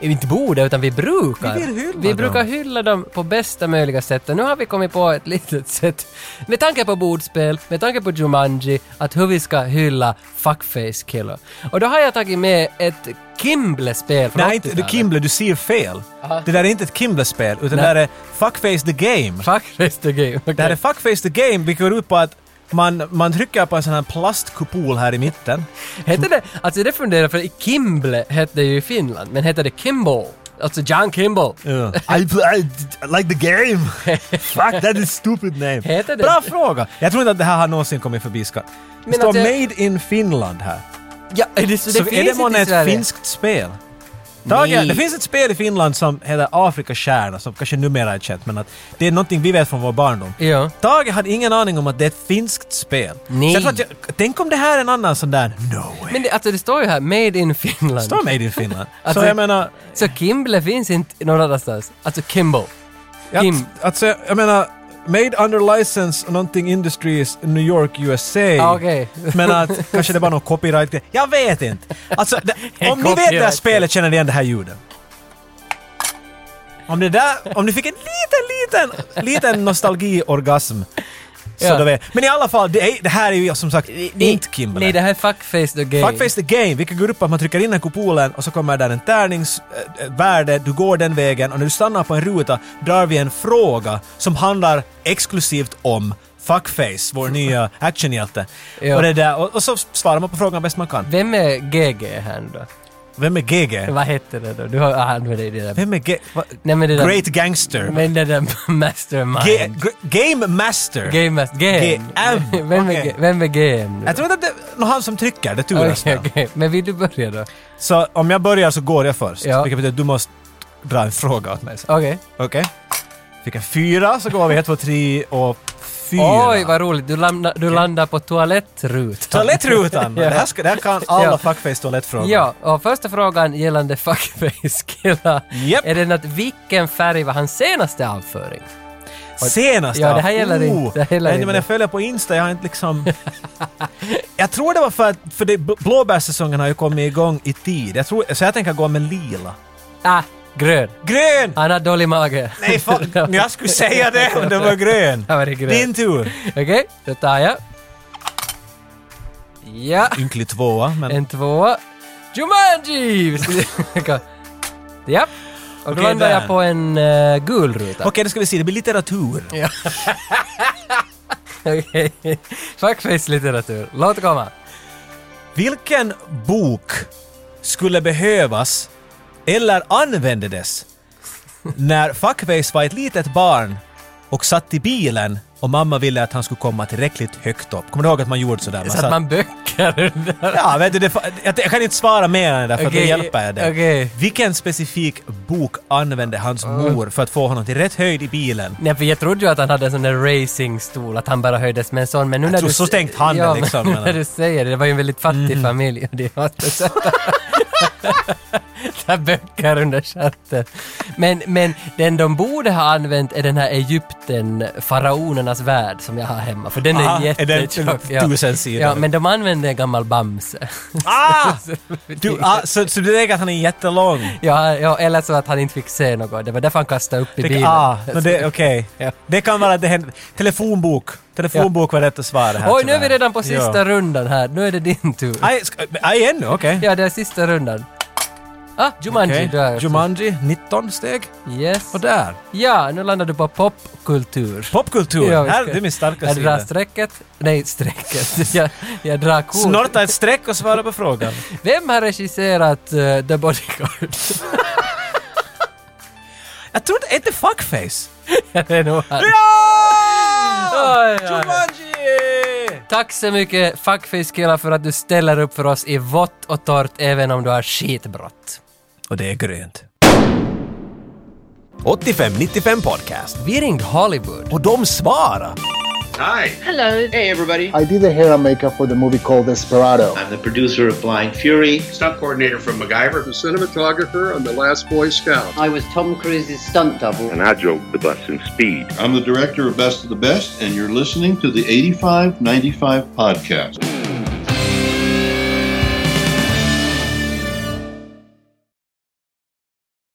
inte borde, utan vi brukar.
Vi vill hylla
vi
dem.
brukar hylla dem på bästa möjliga sätt och nu har vi kommit på ett litet sätt, med tanke på bordspel, med tanke på Jumanji, att hur vi ska hylla Fuckface Killer. Och då har jag tagit med ett Kimble-spel från
Nej, inte
80-talet.
du Kimble, du ser fel. Det där är inte ett Kimble-spel, utan det
Nej.
där är Fuckface the Game.
Fuckface the Game. okej.
Det här är Fuckface the Game, vilket går ut på att man, man trycker på en sån här plastkupol här i mitten.
Hette det, alltså det funderar jag för i Kimble hette det ju i Finland, men hette det Kimball? Alltså John Kimball.
I, I, I like the game! Fuck, that is stupid name!
Heter det?
Bra fråga! Jag tror inte att det här har någonsin kommit förbi skatt. Det
Men
står
att jag-
made in Finland här.
Ja, är det, så det
så
finns
är det
inte
månne
i
ett
Sverige?
finskt spel? Tage,
Nej.
det finns ett spel i Finland som heter Afrikastjärna, som kanske numera är känt, men att det är någonting vi vet från vår barndom.
Ja.
Tage hade ingen aning om att det är ett finskt spel.
Nej.
Så jag tror att jag, tänk om det här är en annan sån där... No way!
Men det, alltså det står ju här, Made in Finland.
Står made in Finland.
Alltså-
så jag menar...
Så Kimble finns inte någon annanstans. Alltså Kimbo.
Ja,
Kim.
Alltså, jag menar, made under license någonting industries in New York, USA.
Ah, okej.
Men att kanske det var någon copyright Jag vet inte. Alltså, det, om ni vet det här
Copyright.
spelet känner ni igen det här ljudet. Om ni, där, om ni fick en liten, liten, liten nostalgiorgasm. Så
Ja.
då vet. Men i alla fall, det, är, det här är ju som sagt inte Kimble.
Nej, det här är Fuckface the Game.
Fuckface the game, vilket går ut på att man trycker in den kupolen och så kommer där en tärningsvärde, du går den vägen och när du stannar på en ruta drar vi en fråga som handlar exklusivt om Fuckface, vår nya actionhjälte.
Ja.
Och, det där, och, och så svarar man på frågan bäst man kan.
Vem är GG här då?
Vem är GG?
Vad heter det då? Du har ah, med dig det där.
Vem är G- va-
Nej, men det där-
Great Gangster?
Men det där
G-
Mastermind.
gr- game Master?
Game Master. Game.
GM.
Vem är,
Okej.
G- vem är GM nu?
Jag tror inte att det är någon han som trycker, det turas
Okej,
väl.
okej. Men vill du börja då?
Så om jag börjar så går jag först.
Ja.
Vilket betyder att du måste dra en fråga åt mig sen.
Okej.
Okej. Fick en fyra, så går vi ett, två, tre och fyra.
Oj, vad roligt. Du, lamna, du landar på toalettrutan.
Toalettrutan!
Ja.
det, här ska, det här kan alla
Ja.
fuckface toalettfrågor.
Ja, och första frågan gällande fuckface-killar
Japp.
är den att vilken färg var hans senaste avföring?
Senast
Ja, det här gäller inte, det här gäller
jag, Men jag
inte.
följer på Insta, jag har inte liksom... jag tror det var för att för det, bl- blåbärssäsongen har ju kommit igång i tid. Jag tror, så jag tänker gå med lila.
Ah, grön.
Grön!
Han har dålig mage.
Nej, fan, jag skulle säga det om det var grön.
Ja, men det är grön.
Din tur.
Okej, då tar jag. Ja,
Ynklig tvåa, men...
en tvåa. Jumanji! ja. Och då
Okej,
landar jag
där.
på en eh, gul ruta.
Okej, då ska vi se. Det blir litteratur.
Okej. Fuckface-litteratur. Låt komma.
Vilken bok skulle behövas eller användes när Fuckface var ett litet barn och satt i bilen och mamma ville att han skulle komma tillräckligt högt upp. Kommer du ihåg att man gjorde sådär? Man
Så att man böcker under.
Ja, vet du, det, jag, jag kan inte svara mer än det för
Okej,
att det hjälper dig.
okej.
Vilken specifik bok använde hans mor för att få honom till rätt höjd i bilen?
Nej, för jag trodde ju att han hade en sån där racingstol, att han bara höjdes med en sån. Men nu när
tror-
du...
så tänkte han
ja,
liksom, Mhm.
Men när
men-
du säger det, det var ju en väldigt fattig familj. Och det var inte så Där böcker under chatten. Men, men den de borde ha använt är den här Egypten, faraonernas värld, som jag har hemma. För den
Aha,
är
är den typ
jättetjock.
tusen sidor?
Ja, men de använde en gammal Bamse.
Ah! Du, ah, så, så du tänker att han är jättelång?
Ja, ja, eller så att han inte fick se något. Det var därför han kastade upp i
Det,
bilen.
ah, men det, okej.
Ja.
Det kan vara att det händer. Telefonbok. Telefonbok var rätt svar här.
Oj, nu är vi
tyvärr.
redan på sista
Ja.
rundan här. Nu är det din tur.
Aj, ska- aj, ännu? Okej.
Ja, det är sista rundan. Ah, Jumanji,
Okej.
du är efter.
Jumanji, 19 steg.
Yes.
Och där.
Ja, nu landar du på popkultur.
Popkultur.
Ja, vi
här,
ska-
det är min starka
Jag drar
sida.
strecket. Nej, strecket. Jag, jag drar kort.
Snorta ett streck och svara på frågan.
Vem har regisserat eh, The Bodyguard?
Jag tror inte... Är det fuckface?
det är nog han.
Ja!
Oj, oj, oj.
Jumanji!
Tack så mycket Fuckface-killar för att du ställer upp för oss i vått och torrt även om du har skitbrott.
Och det är grönt.
8595 Podcast.
Vi ringde Hollywood.
Och de svarar.
Hi.
Hello. Hey, everybody.
I did the hair and makeup for the movie called Desperado.
I'm the producer of Blind Fury.
Stunt coordinator from MacGyver. The cinematographer on The Last Boy Scout.
I was Tom Cruise's stunt double.
And I drove the bus in speed.
I'm the director of Best of the Best, and you're listening to the 8595 podcast.